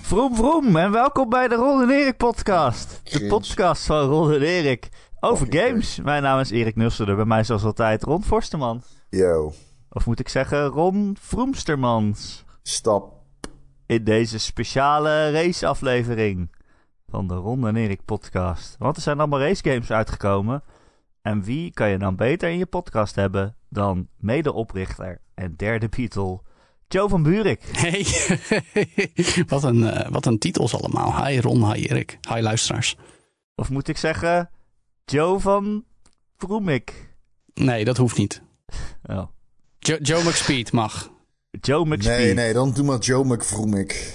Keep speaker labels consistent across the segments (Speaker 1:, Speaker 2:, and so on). Speaker 1: Vroom vroom en welkom bij de Ron en Erik podcast. De
Speaker 2: Cringe.
Speaker 1: podcast van Ron en Erik over
Speaker 2: Fucking
Speaker 1: games. Mijn naam is Erik Nusselder, bij mij zoals altijd Ron Forsterman.
Speaker 2: Yo,
Speaker 1: Of moet ik zeggen Ron Vroemstermans.
Speaker 2: stap.
Speaker 1: In deze speciale raceaflevering van de Ron en Erik podcast. Want er zijn allemaal racegames uitgekomen. En wie kan je dan beter in je podcast hebben dan medeoprichter en derde Beatle Joe van Buurik.
Speaker 3: Hey, wat, een, eh, wat een titels allemaal. Hi Ron, hi Erik, hi luisteraars.
Speaker 1: Of moet ik zeggen Joe van Vroemik.
Speaker 3: Nee, dat hoeft niet.
Speaker 1: Oh.
Speaker 3: Jo Joe McSpeed mag.
Speaker 1: Joe McSpeed.
Speaker 2: Nee, nee, dan doe maar Joe McVroemik.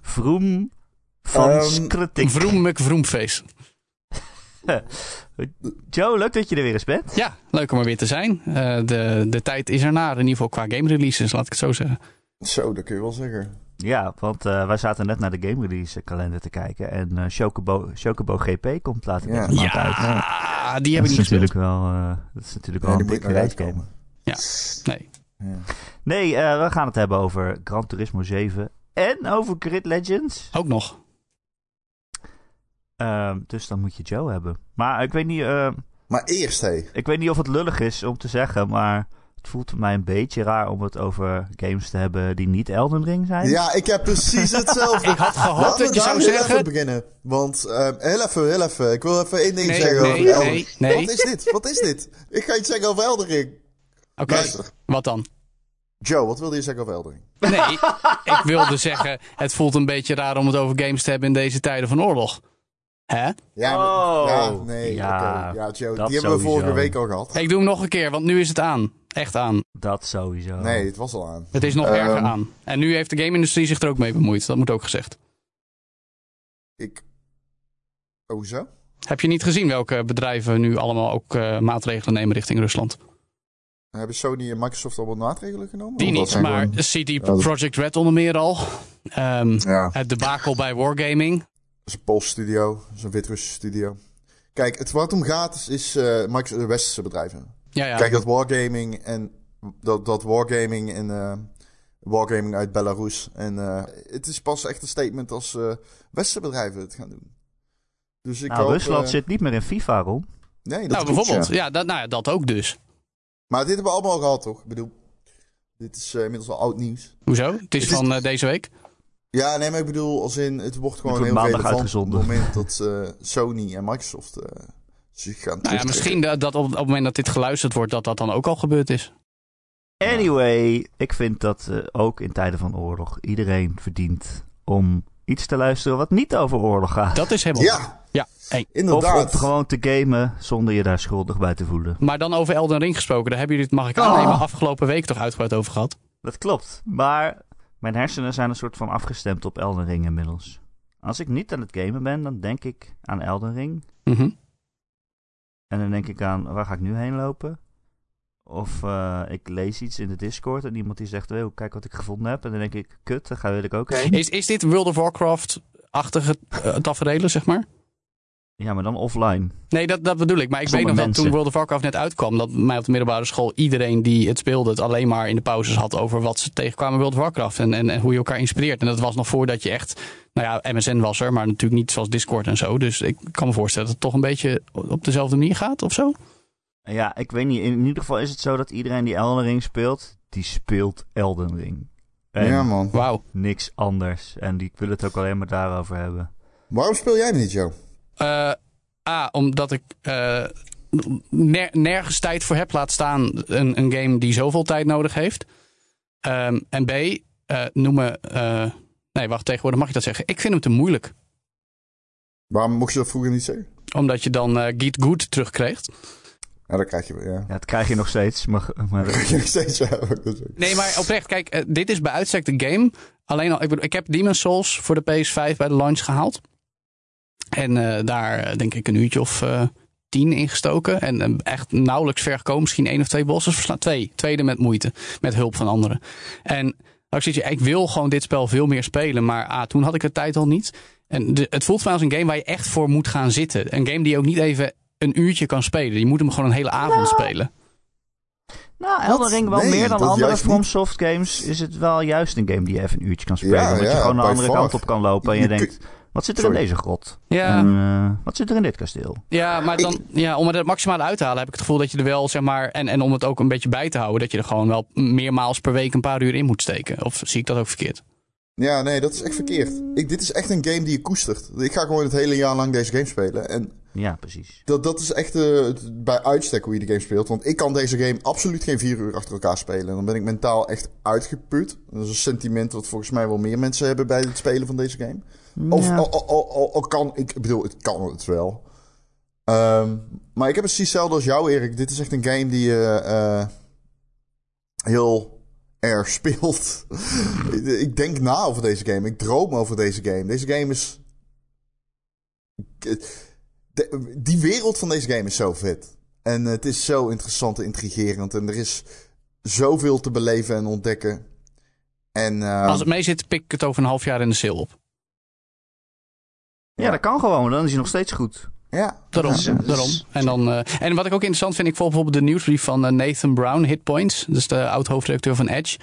Speaker 1: Vroem van
Speaker 2: Ehm,
Speaker 1: Skretik.
Speaker 3: Vroom McVroomface.
Speaker 1: Joe, leuk dat je er weer eens bent.
Speaker 3: Ja, leuk om er weer te zijn. Eh, de, de tijd is ernaar, in ieder geval qua game releases, laat ik het zo zeggen.
Speaker 2: Zo, dat kun je wel zeggen.
Speaker 1: Ja, want eh, wij zaten net naar de game release kalender te kijken. En eh Chocobo, Chocobo GP komt later
Speaker 2: Ja.
Speaker 1: deze maand uit.
Speaker 2: Ah,
Speaker 3: Ja, Ah, die
Speaker 1: Dat is,
Speaker 3: hebben niet gespeeld.
Speaker 1: natuurlijk wel, eh, dat is natuurlijk
Speaker 2: Nee,
Speaker 1: wel
Speaker 2: die
Speaker 1: een
Speaker 2: moet
Speaker 1: dikke
Speaker 2: naar
Speaker 1: race
Speaker 2: uitkomen.
Speaker 3: Ja. Nee.
Speaker 2: Ja.
Speaker 1: Nee, eh, we gaan het hebben over Gran Turismo 7 en over Grid Legends.
Speaker 3: Ook nog.
Speaker 1: Ehm, dus dan moet je Joe hebben. Maar ik weet niet, eh,
Speaker 2: Maar eerst, hé.
Speaker 1: Ik weet niet of het lullig is om te zeggen, maar het voelt voor mij een beetje raar om het over games te hebben die niet Elden Ring zijn.
Speaker 2: Ja, ik heb precies hetzelfde.
Speaker 3: Oh, Ik had gehoopt
Speaker 2: Ah, Laten we
Speaker 3: dat je
Speaker 2: daar
Speaker 3: zou
Speaker 2: heel
Speaker 3: zeggen-
Speaker 2: even beginnen. Want, ehm, heel even, heel even. Ik wil even één ding
Speaker 3: Nee,
Speaker 2: zeggen
Speaker 3: nee,
Speaker 2: over Elden
Speaker 3: nee,
Speaker 2: Ring.
Speaker 3: nee.
Speaker 2: Wat is dit? Wat is dit? Ik ga iets zeggen over Elden Ring.
Speaker 3: Oké,
Speaker 2: Luister.
Speaker 3: wat dan?
Speaker 2: Joe, wat wilde je zeggen over Elden Ring?
Speaker 3: Nee, ik wilde zeggen, het voelt een beetje raar om het over games te hebben in deze tijden van oorlog. Hè?
Speaker 2: Ja, maar-
Speaker 1: Oh.
Speaker 2: ja nee,
Speaker 1: Ja,
Speaker 2: oké. ja Joe,
Speaker 1: dat
Speaker 2: die hebben we
Speaker 1: sowieso.
Speaker 2: vorige week al gehad.
Speaker 3: Ik doe hem nog een keer, want nu is het aan. Echt aan.
Speaker 1: Dat sowieso.
Speaker 2: Nee, het was al aan.
Speaker 3: Het is nog
Speaker 2: Ehm.
Speaker 3: erger aan. En nu heeft de game-industrie zich er ook mee bemoeid. Dat moet ook gezegd.
Speaker 2: Ik... Oh, zo?
Speaker 3: Heb je niet gezien welke bedrijven nu allemaal ook eh, maatregelen nemen richting Rusland?
Speaker 2: Oh, Hebben Sony en Microsoft allemaal maatregelen genomen?
Speaker 3: Die
Speaker 2: Of dat
Speaker 3: niet,
Speaker 2: zijn
Speaker 3: maar
Speaker 2: gewoon-
Speaker 3: CD
Speaker 2: dat-
Speaker 3: Projekt Red onder meer al. Ehm
Speaker 2: Ja.
Speaker 3: het debakel bij Wargaming.
Speaker 2: Dat is een Pools studio, dat is een Wit-Russische studio. Kijk, het, waar het om gaat is, is eh, Microsoft- de westerse bedrijven.
Speaker 3: Ja, ja.
Speaker 2: Kijk, dat wargaming en dat, dat wargaming en eh, wargaming uit Belarus. En eh, het is pas echt een statement als eh, westerse bedrijven het gaan doen. Dus ik
Speaker 1: Nou,
Speaker 2: hoop,
Speaker 1: Rusland
Speaker 2: eh,
Speaker 1: zit niet meer in FIFA, Ron.
Speaker 2: Nee, dat
Speaker 3: nou,
Speaker 2: klopt,
Speaker 3: bijvoorbeeld.
Speaker 2: ja.
Speaker 3: Ja, dat, nou ja, dat ook dus.
Speaker 2: Maar dit hebben we allemaal gehad, toch? Ik bedoel, dit is eh, inmiddels al oud nieuws.
Speaker 3: Hoezo? Het is
Speaker 2: Het is-
Speaker 3: van eh, deze week.
Speaker 2: Ja, nee, maar ik bedoel, als in, het wordt gewoon
Speaker 1: wordt
Speaker 2: heel
Speaker 1: maandag
Speaker 2: relevant
Speaker 1: uitgezonden.
Speaker 2: op het moment dat eh, Sony en Microsoft eh, zich gaan
Speaker 3: Nou ja,
Speaker 2: terugtrekken.
Speaker 3: misschien dat, dat op, op het moment dat dit geluisterd wordt, dat dat dan ook al gebeurd is.
Speaker 1: Anyway, ik vind dat eh, ook in tijden van oorlog iedereen verdient om iets te luisteren wat niet over oorlog gaat.
Speaker 3: Dat is helemaal.
Speaker 2: Ja,
Speaker 3: ja hey.
Speaker 2: inderdaad.
Speaker 1: Of om gewoon te gamen zonder je daar schuldig bij te voelen.
Speaker 3: Maar dan over Elden Ring gesproken. Daar hebben jullie het, mag ik
Speaker 1: Ah.
Speaker 3: aannemen, afgelopen week toch uitgebreid over gehad.
Speaker 1: Dat klopt, maar mijn hersenen zijn een soort van afgestemd op Elden Ring inmiddels. Als ik niet aan het gamen ben, dan denk ik aan Elden Ring.
Speaker 3: Mhm.
Speaker 1: En dan denk ik aan, waar ga ik nu heen lopen? Of eh, ik lees iets in de Discord en iemand die zegt, hey, kijk wat ik gevonden heb. En dan denk ik, kut, daar ga, wil ik ook heen.
Speaker 3: Is, is dit World of Warcraft-achtige eh, taferelen, zeg maar?
Speaker 1: Ja, maar dan offline.
Speaker 3: Nee, dat, dat bedoel ik. Maar ik
Speaker 1: Zonder
Speaker 3: weet nog dat
Speaker 1: mensen.
Speaker 3: toen World of Warcraft net uitkwam, dat mij op de middelbare school iedereen die het speelde het alleen maar in de pauzes had over wat ze tegenkwamen in World of Warcraft en, en, en hoe je elkaar inspireert. En dat was nog voordat je echt, nou ja, MSN was er, maar natuurlijk niet zoals Discord en zo. Dus ik kan me voorstellen dat het toch een beetje op dezelfde manier gaat of zo.
Speaker 1: Ja, ik weet niet. In ieder geval is het zo dat iedereen die Elden Ring speelt, die speelt Elden Ring. En
Speaker 2: Ja, man.
Speaker 3: Wauw.
Speaker 1: niks anders. En die wil het ook alleen maar daarover hebben.
Speaker 2: Waarom speel jij hem niet, Joe?
Speaker 3: Eh, A, omdat ik eh, ner- nergens tijd voor heb, laat staan een, een game die zoveel tijd nodig heeft. Ehm, en B, eh, noem me. eh, nee, wacht, tegenwoordig mag je dat zeggen. Ik vind hem te moeilijk.
Speaker 2: Waarom mocht je dat vroeger niet zeggen?
Speaker 3: Omdat je dan eh Geet Good terugkreeg.
Speaker 2: Ja, dat krijg je wel, ja.
Speaker 1: Ja, dat krijg je nog steeds. Maar,
Speaker 2: Dat
Speaker 1: maar
Speaker 2: krijg je nog steeds, ja. wat ik wil zeggen.
Speaker 3: Nee, maar oprecht, kijk, eh, dit is bij uitstek de game. Alleen al, ik, bedoel, ik heb Demon's Souls voor de PS5 bij de launch gehaald. En eh, daar eh, denk ik een uurtje of eh, tien in gestoken. En eh, echt nauwelijks ver gekomen. Misschien één of twee bossen verslaan. Twee. Tweede met moeite. Met hulp van anderen. En ook zit je, ik wil gewoon dit spel veel meer spelen. Maar ah, toen had ik de tijd al niet. En de- het voelt voor mij als een game waar je echt voor moet gaan zitten. Een game die je ook niet even een uurtje kan spelen. Je moet hem gewoon een hele avond spelen.
Speaker 1: Nou, Elden
Speaker 2: Wat?
Speaker 1: Ring wel
Speaker 2: Nee,
Speaker 1: meer dan
Speaker 2: dat
Speaker 1: andere
Speaker 2: juist
Speaker 1: From
Speaker 2: niet.
Speaker 1: Soft games is het wel juist een game die je even een uurtje kan spelen.
Speaker 2: Ja,
Speaker 1: omdat je
Speaker 2: ja,
Speaker 1: gewoon de
Speaker 2: by
Speaker 1: andere
Speaker 2: far.
Speaker 1: kant op kan lopen en je,
Speaker 2: Je kun-
Speaker 1: denkt, wat zit er in
Speaker 2: Sorry.
Speaker 1: deze grot?
Speaker 3: Ja,
Speaker 1: En, eh, wat zit er in dit kasteel?
Speaker 3: ja maar dan, ja, om het maximale uit te halen heb ik het gevoel dat je er wel, zeg maar, en, en om het ook een beetje bij te houden, dat je er gewoon wel meermaals per week een paar uur in moet steken. Of zie ik dat ook verkeerd?
Speaker 2: Ja, nee, dat is echt verkeerd. Ik, dit is echt een game die je koestert. Ik ga gewoon het hele jaar lang deze game spelen. En
Speaker 1: Ja, precies.
Speaker 2: dat, dat is echt eh, het- bij uitstek hoe je de game speelt. Want ik kan deze game absoluut geen vier uur achter elkaar spelen. Dan ben ik mentaal echt uitgeput. Dat is een sentiment wat volgens mij wel meer mensen hebben bij het spelen van deze game. Of oh,
Speaker 1: Ja.
Speaker 2: al, al- al- al- al kan, ik bedoel, het kan het wel. Ehm, maar ik heb het precies hetzelfde als jou, Erik. Dit is echt een game die je eh, heel erg speelt. ik denk na over deze game. Ik droom over deze game. Deze game is. De- die wereld van deze game is zo vet. En het is zo interessant en intrigerend. En er is zoveel te beleven en ontdekken. En, ehm,
Speaker 3: Als het mee zit, pik ik het over een half jaar in de sale op.
Speaker 1: ja, dat kan gewoon. Dan is hij nog steeds goed.
Speaker 2: ja,
Speaker 3: Daarom,
Speaker 2: Ja, dus-
Speaker 3: daarom. En, dan, eh, en wat ik ook interessant vind, ik volg bijvoorbeeld de nieuwsbrief van eh, Nathan Brown, Hitpoints. Dus de oud-hoofdredacteur van Edge,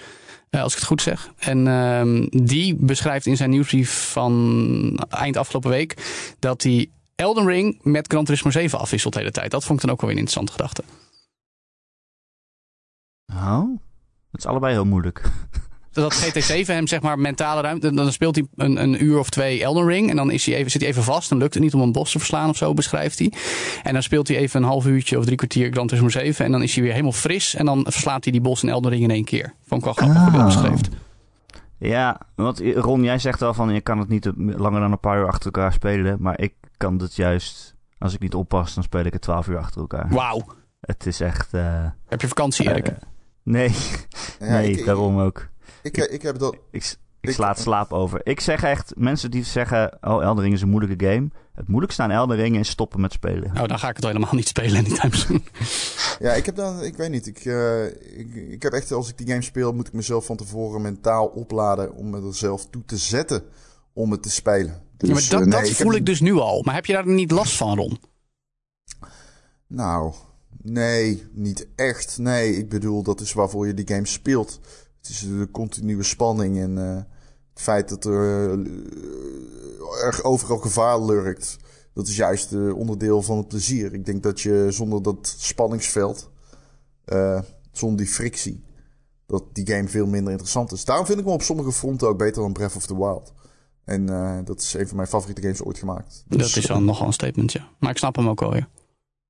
Speaker 3: eh, als ik het goed zeg. En ehm, die beschrijft in zijn nieuwsbrief van eind afgelopen week dat hij Elden Ring met Gran Turismo 7 afwisselt de hele tijd. Dat vond ik dan ook wel weer een interessante gedachte.
Speaker 1: Oh, dat is allebei heel moeilijk.
Speaker 3: Dat GT7 hem zeg maar mentale ruimte, dan speelt hij een, een uur of twee Elden Ring en dan is hij even, zit hij even vast. Dan lukt het niet om een bos te verslaan of zo, beschrijft hij. En dan speelt hij even een half uurtje of drie kwartier Gran Turismo 7 en dan is hij weer helemaal fris en dan verslaat hij die bos in Elden Ring in één keer. Vond ik wel grappig hoe hij dat
Speaker 1: Ah.
Speaker 3: beschreef.
Speaker 1: Ja, want eh, Ron, jij zegt wel van je kan het niet op- langer dan een paar uur achter elkaar spelen. Maar ik kan dat juist, als ik niet oppas, dan speel ik het twaalf uur achter elkaar.
Speaker 3: Wauw.
Speaker 1: Het is echt... eh,
Speaker 3: Heb je vakantie, Erik?
Speaker 1: eh, nee,
Speaker 2: ja,
Speaker 1: nee,
Speaker 2: ik- ik-
Speaker 1: daarom ook.
Speaker 2: Ik, ik heb dat.
Speaker 1: Ik, s- ik
Speaker 2: Ik-
Speaker 1: sla het slaap over. Ik zeg echt, mensen die zeggen, oh Elden Ring is een moeilijke game. Het moeilijkste aan Elden Ring is stoppen met spelen.
Speaker 3: Oh, dan ga ik het helemaal niet spelen anytime soon.
Speaker 2: Ja, ik heb dan. Ik weet niet. Ik, eh, ik, ik heb echt. Als ik die game speel, moet ik mezelf van tevoren mentaal opladen. om me er zelf toe te zetten. om het te spelen.
Speaker 3: Ja, maar
Speaker 2: Dus,
Speaker 3: dat,
Speaker 2: eh, nee,
Speaker 3: dat
Speaker 2: heb
Speaker 3: voel ik
Speaker 2: niet-
Speaker 3: dus nu al. Maar heb je daar niet last van, Ron?
Speaker 2: Nou, nee, niet echt. Nee, ik bedoel, dat is waarvoor je die game speelt. Het is de continue spanning en eh, het feit dat er eh, erg overal gevaar lurkt. Dat is juist eh, onderdeel van het plezier. Ik denk dat je zonder dat spanningsveld, eh, zonder die frictie, dat die game veel minder interessant is. Daarom vind ik hem op sommige fronten ook beter dan Breath of the Wild. En eh, dat is een van mijn favoriete games ooit gemaakt.
Speaker 3: Dat is dan nogal een statement, ja. Maar ik snap hem ook wel, ja.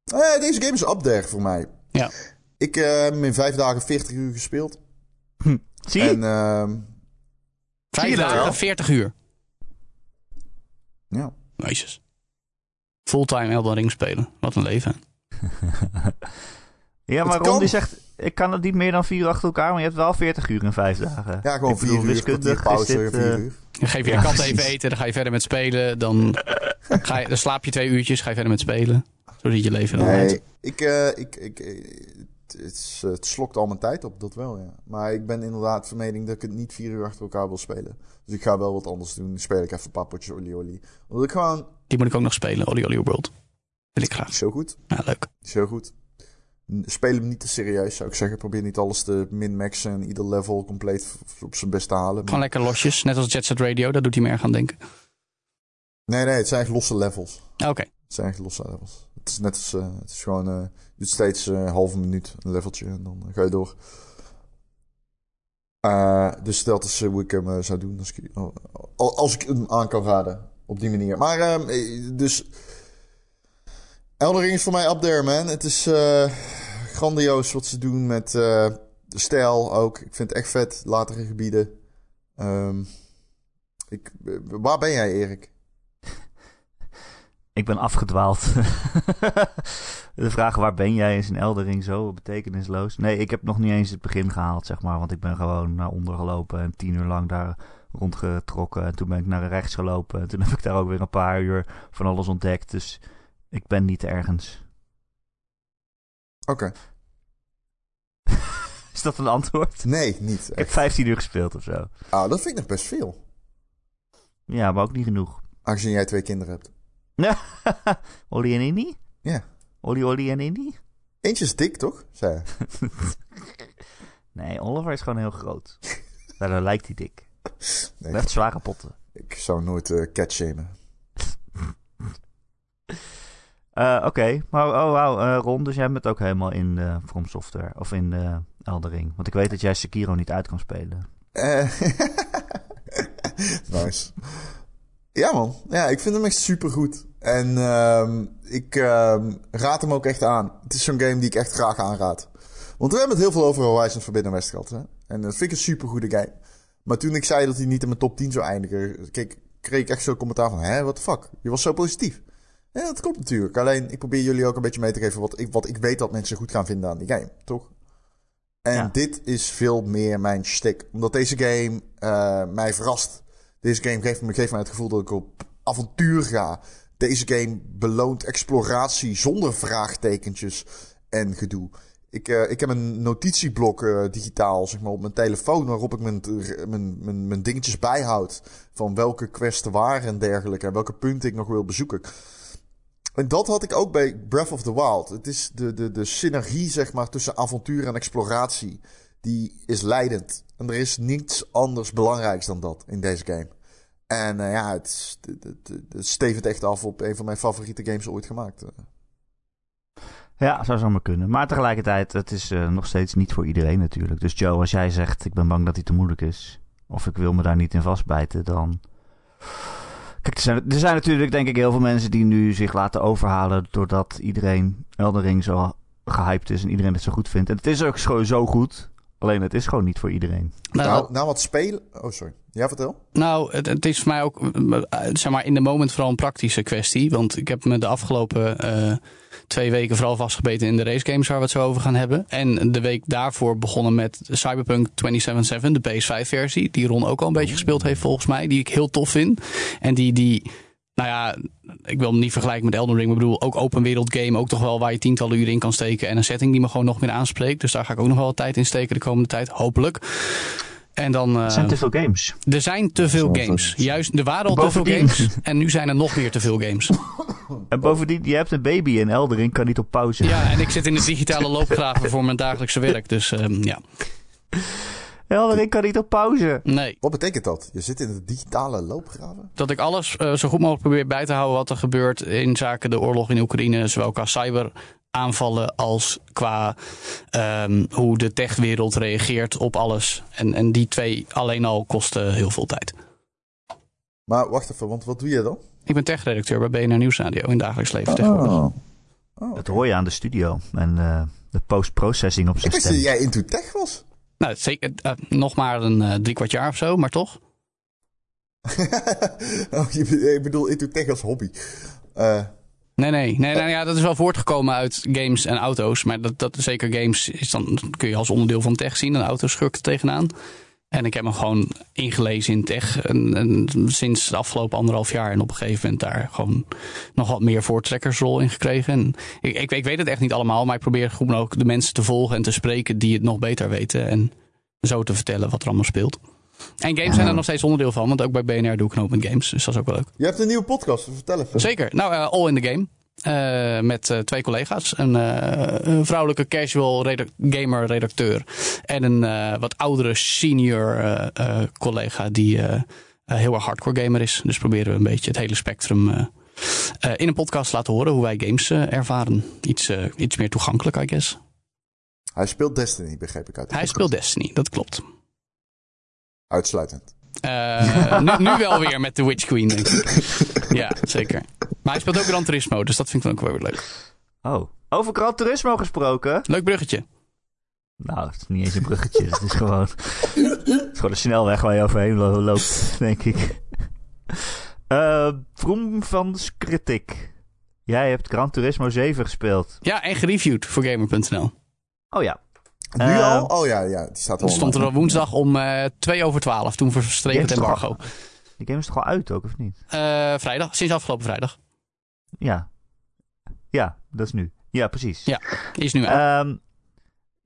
Speaker 2: Eh, deze game is up there voor mij.
Speaker 3: Ja.
Speaker 2: Ik eh, heb hem in vijf dagen 40 uur gespeeld.
Speaker 1: Zie je?
Speaker 2: En ehm,
Speaker 1: Zie je
Speaker 3: Vijf
Speaker 1: dat
Speaker 3: dagen,
Speaker 2: wel?
Speaker 3: 40 uur.
Speaker 2: ja.
Speaker 3: Jezus. Fulltime Elden Ring spelen. Wat een leven.
Speaker 1: ja, maar
Speaker 2: het
Speaker 1: Ron
Speaker 2: kan.
Speaker 1: die zegt, ik kan het niet meer dan vier uur achter elkaar. Maar je hebt wel 40 uur in vijf dagen.
Speaker 2: ja, gewoon
Speaker 1: Ik bedoel,
Speaker 2: vier uur,
Speaker 1: wiskundig
Speaker 2: kwartier
Speaker 1: is
Speaker 2: pauze,
Speaker 1: dit,
Speaker 2: vier
Speaker 1: eh,
Speaker 2: uur.
Speaker 3: Dan geef je
Speaker 1: Ja,
Speaker 3: een kat
Speaker 1: precies.
Speaker 3: even eten, dan ga je verder met spelen. Dan, ga je, dan slaap je twee uurtjes, ga je verder met spelen. Zo ziet je leven dan uit.
Speaker 2: Nee, ik, eh, ik, ik, eh, het, het is, eh, het slokt al mijn tijd op, dat wel, ja. Maar ik ben inderdaad van mening dat ik het niet vier uur achter elkaar wil spelen. Dus ik ga wel wat anders doen. Dan speel ik even een paar potjes Oli Oli. Omdat ik gewoon...
Speaker 3: Die moet ik ook nog spelen, Oli Oli World. Wil ik graag.
Speaker 2: Zo goed.
Speaker 3: Ja, leuk.
Speaker 2: Zo goed. N- Speel hem niet te serieus, zou ik zeggen. Probeer niet alles te min-maxen en ieder level compleet v- op zijn best te halen.
Speaker 3: Gewoon lekker losjes, net als Jet Set Radio, daar doet hij meer aan denken.
Speaker 2: Nee, nee, het zijn echt losse levels.
Speaker 3: Oké,
Speaker 2: Het zijn echt losse levels. Het is net als, eh, het is gewoon, eh, je doet steeds eh, een halve minuut een leveltje en dan eh, ga je door. Eh, dus dat is eh, hoe ik hem eh, zou doen als ik, al- al- als ik hem aan kan raden. Op die manier. Maar ehm, eh, dus, Elden Ring is voor mij up there man. Het is eh, grandioos wat ze doen met eh, de stijl ook. Ik vind het echt vet, latere gebieden. Ehm, ik, eh, waar ben jij Erik?
Speaker 1: Ik ben afgedwaald. de vraag waar ben jij is in Eldering zo betekenisloos. Nee, ik heb nog niet eens het begin gehaald, zeg maar. Want ik ben gewoon naar onder gelopen en tien uur lang daar rondgetrokken. En toen ben ik naar rechts gelopen. En toen heb ik daar ook weer een paar uur van alles ontdekt. Dus ik ben niet ergens.
Speaker 2: Oké.
Speaker 1: Is dat een antwoord?
Speaker 2: Nee, niet.
Speaker 1: Ik heb 15 uur gespeeld of zo.
Speaker 2: Ah, dat vind ik nog best veel.
Speaker 1: Ja, maar ook niet genoeg.
Speaker 2: Aangezien jij twee kinderen hebt.
Speaker 1: Olly en Indy?
Speaker 2: Ja.
Speaker 1: Olly, Olly en Indy?
Speaker 2: Eentje is dik, toch? Zei hij.
Speaker 1: Nee, Oliver is gewoon heel groot. Daardoor lijkt hij dik.
Speaker 2: Nee,
Speaker 1: Hij heeft zware potten.
Speaker 2: ik zou nooit eh cat shamen.
Speaker 1: Eh, Oké, maar oh wauw, eh, Ron, dus jij bent ook helemaal in de From Software, of in de Eldering. Want ik weet dat jij Sekiro niet uit kan spelen.
Speaker 2: Eh, nice. Ja, man. Ja, ik vind hem echt supergoed. En ehm, ik ehm, raad hem ook echt aan. Het is zo'n game die ik echt graag aanraad. Want we hebben het heel veel over Horizon Forbidden West gehad. Hè? En dat vind ik een supergoede game. Maar toen ik zei dat hij niet in mijn top 10 zou eindigen... Kreeg, kreeg ik echt zo'n commentaar van... Hé, what the fuck? Je was zo positief. Ja, dat klopt natuurlijk. Alleen, ik probeer jullie ook een beetje mee te geven... wat ik, wat ik weet dat mensen goed gaan vinden aan die game. Toch? En
Speaker 1: Ja.
Speaker 2: dit is veel meer mijn shtick. Omdat deze game eh, mij verrast. Deze game geeft me, geeft me het gevoel dat ik op avontuur ga. Deze game beloont exploratie zonder vraagtekentjes en gedoe. Ik, eh, ik heb een notitieblok eh, digitaal zeg maar, op mijn telefoon waarop ik mijn, eh, mijn, mijn, mijn dingetjes bijhoud. Van welke quests er waren en dergelijke. En welke punten ik nog wil bezoeken. En dat had ik ook bij Breath of the Wild. Het is de, de, de synergie, zeg maar, tussen avontuur en exploratie. Die is leidend. En er is niets anders belangrijks dan dat in deze game. En eh, ja, het, is- het, het- het- het stevend echt af op een van mijn favoriete games ooit gemaakt. Eh,
Speaker 1: Ja, zou zomaar kunnen. Maar tegelijkertijd, het is eh, nog steeds niet voor iedereen natuurlijk. Dus Joe, als jij zegt, ik ben bang dat hij te moeilijk is, of ik wil me daar niet in vastbijten, dan... Kijk, er zijn, er zijn natuurlijk denk ik heel veel mensen die nu zich laten overhalen doordat iedereen Eldering zo gehyped is en iedereen het zo goed vindt. En het is ook zo, zo goed, alleen het is gewoon niet voor iedereen.
Speaker 3: Nou,
Speaker 2: Nou, nou, wat spelen... Oh, sorry. Ja, vertel.
Speaker 3: Nou, het, het is voor mij ook eh, zeg maar, in de moment vooral een praktische kwestie. Want ik heb me de afgelopen eh, twee weken vooral vastgebeten in de racegames waar we het zo over gaan hebben. En de week daarvoor begonnen met Cyberpunk 2077, de PS5-versie. Die Ron ook al een beetje gespeeld heeft volgens mij. Die ik heel tof vind. En die, die nou ja, ik wil hem niet vergelijken met Elden Ring. Maar ik bedoel, ook open wereld game. Ook toch wel waar je tientallen uren in kan steken. En een setting die me gewoon nog meer aanspreekt. Dus daar ga ik ook nog wel wat tijd in steken de komende tijd. Hopelijk. En dan... eh,
Speaker 1: Het zijn te veel games.
Speaker 3: er zijn te veel
Speaker 2: Zo, zo,
Speaker 3: games.
Speaker 2: zo.
Speaker 3: Juist, er waren al te veel
Speaker 1: Bovendien.
Speaker 3: games. En nu zijn er nog weer te veel games.
Speaker 1: En bovendien, je hebt een baby en Eldering kan niet op pauze.
Speaker 3: Ja, en ik zit in de digitale loopgraven voor mijn dagelijkse werk. Dus ehm, ja,
Speaker 1: Eldering kan niet op pauze.
Speaker 3: nee.
Speaker 2: Wat betekent dat? Je zit in de digitale loopgraven?
Speaker 3: Dat ik alles eh, zo goed mogelijk probeer bij te houden wat er gebeurt in zaken de oorlog in Oekraïne. Zowel qua cyberaanvallen als qua ehm, hoe de techwereld reageert op alles. En, en die twee alleen al kosten heel veel tijd.
Speaker 2: Maar wacht even, want wat doe je dan?
Speaker 3: Ik ben techredacteur bij BNR Nieuwsradio in dagelijks leven tegenwoordig.
Speaker 2: Oh,
Speaker 1: Dat
Speaker 2: oké.
Speaker 1: hoor je aan de studio en eh, de post-processing op
Speaker 2: Ik
Speaker 1: zijn
Speaker 2: wist dat
Speaker 1: stem.
Speaker 2: jij into tech was.
Speaker 3: Nou, zeker, eh, nog maar een eh, drie kwart jaar of zo, maar toch?
Speaker 2: oh, je be- ik bedoel into tech als hobby. Eh,
Speaker 3: Nee, nee. nee nou ja, dat is wel voortgekomen uit games en auto's. Maar dat, dat, zeker games is dan, kun je als onderdeel van tech zien. Een auto schurkt er tegenaan. En ik heb me gewoon ingelezen in tech. En, en sinds de afgelopen anderhalf jaar. En op een gegeven moment daar gewoon nog wat meer voortrekkersrol in gekregen. En ik, ik, ik weet het echt niet allemaal. Maar ik probeer goed ook de mensen te volgen en te spreken die het nog beter weten. En zo te vertellen wat er allemaal speelt. En games zijn er nog steeds onderdeel van. Want ook bij BNR doe ik een hoop met games. Dus dat is ook wel leuk.
Speaker 2: je hebt een nieuwe podcast, vertel even.
Speaker 3: Zeker. Nou, eh, All in the Game. Eh, met eh, twee collega's. Een, eh, een vrouwelijke casual redac- gamer-redacteur. En een eh, wat oudere senior eh, eh, collega die eh, eh, heel erg hardcore gamer is. Dus proberen we een beetje het hele spectrum eh, eh, in een podcast te laten horen hoe wij games eh, ervaren. Iets, eh, iets meer toegankelijk, I guess.
Speaker 2: Hij speelt Destiny, begreep ik uit. de
Speaker 3: Hij
Speaker 2: podcast.
Speaker 3: speelt Destiny, dat klopt.
Speaker 2: Uitsluitend.
Speaker 3: Eh, nu, nu wel weer met de Witch Queen, denk ik. Ja, zeker. Maar hij speelt ook Gran Turismo, dus dat vind ik dan ook wel weer leuk.
Speaker 1: Oh, over Gran Turismo gesproken.
Speaker 3: Leuk bruggetje.
Speaker 1: Nou, het is niet eens een bruggetje. het is gewoon. Het is gewoon een snelweg waar je overheen lo- loopt, denk ik. Eh Vroom van Skritik. Jij hebt Gran Turismo 7 gespeeld.
Speaker 3: Ja, en gereviewd voor Gamer.nl.
Speaker 1: Oh ja.
Speaker 2: Nu
Speaker 1: Eh,
Speaker 2: al? Oh ja, ja, die staat al.
Speaker 3: Dat stond er
Speaker 2: online.
Speaker 3: op woensdag om eh 2 over 12. Toen verstreek het
Speaker 1: Jeetje, toch?
Speaker 3: embargo.
Speaker 1: Die game is toch al uit ook, of niet?
Speaker 3: Eh, vrijdag, sinds afgelopen vrijdag.
Speaker 1: Ja. Ja, dat is nu. Ja, precies.
Speaker 3: Is nu uit.
Speaker 1: Ehm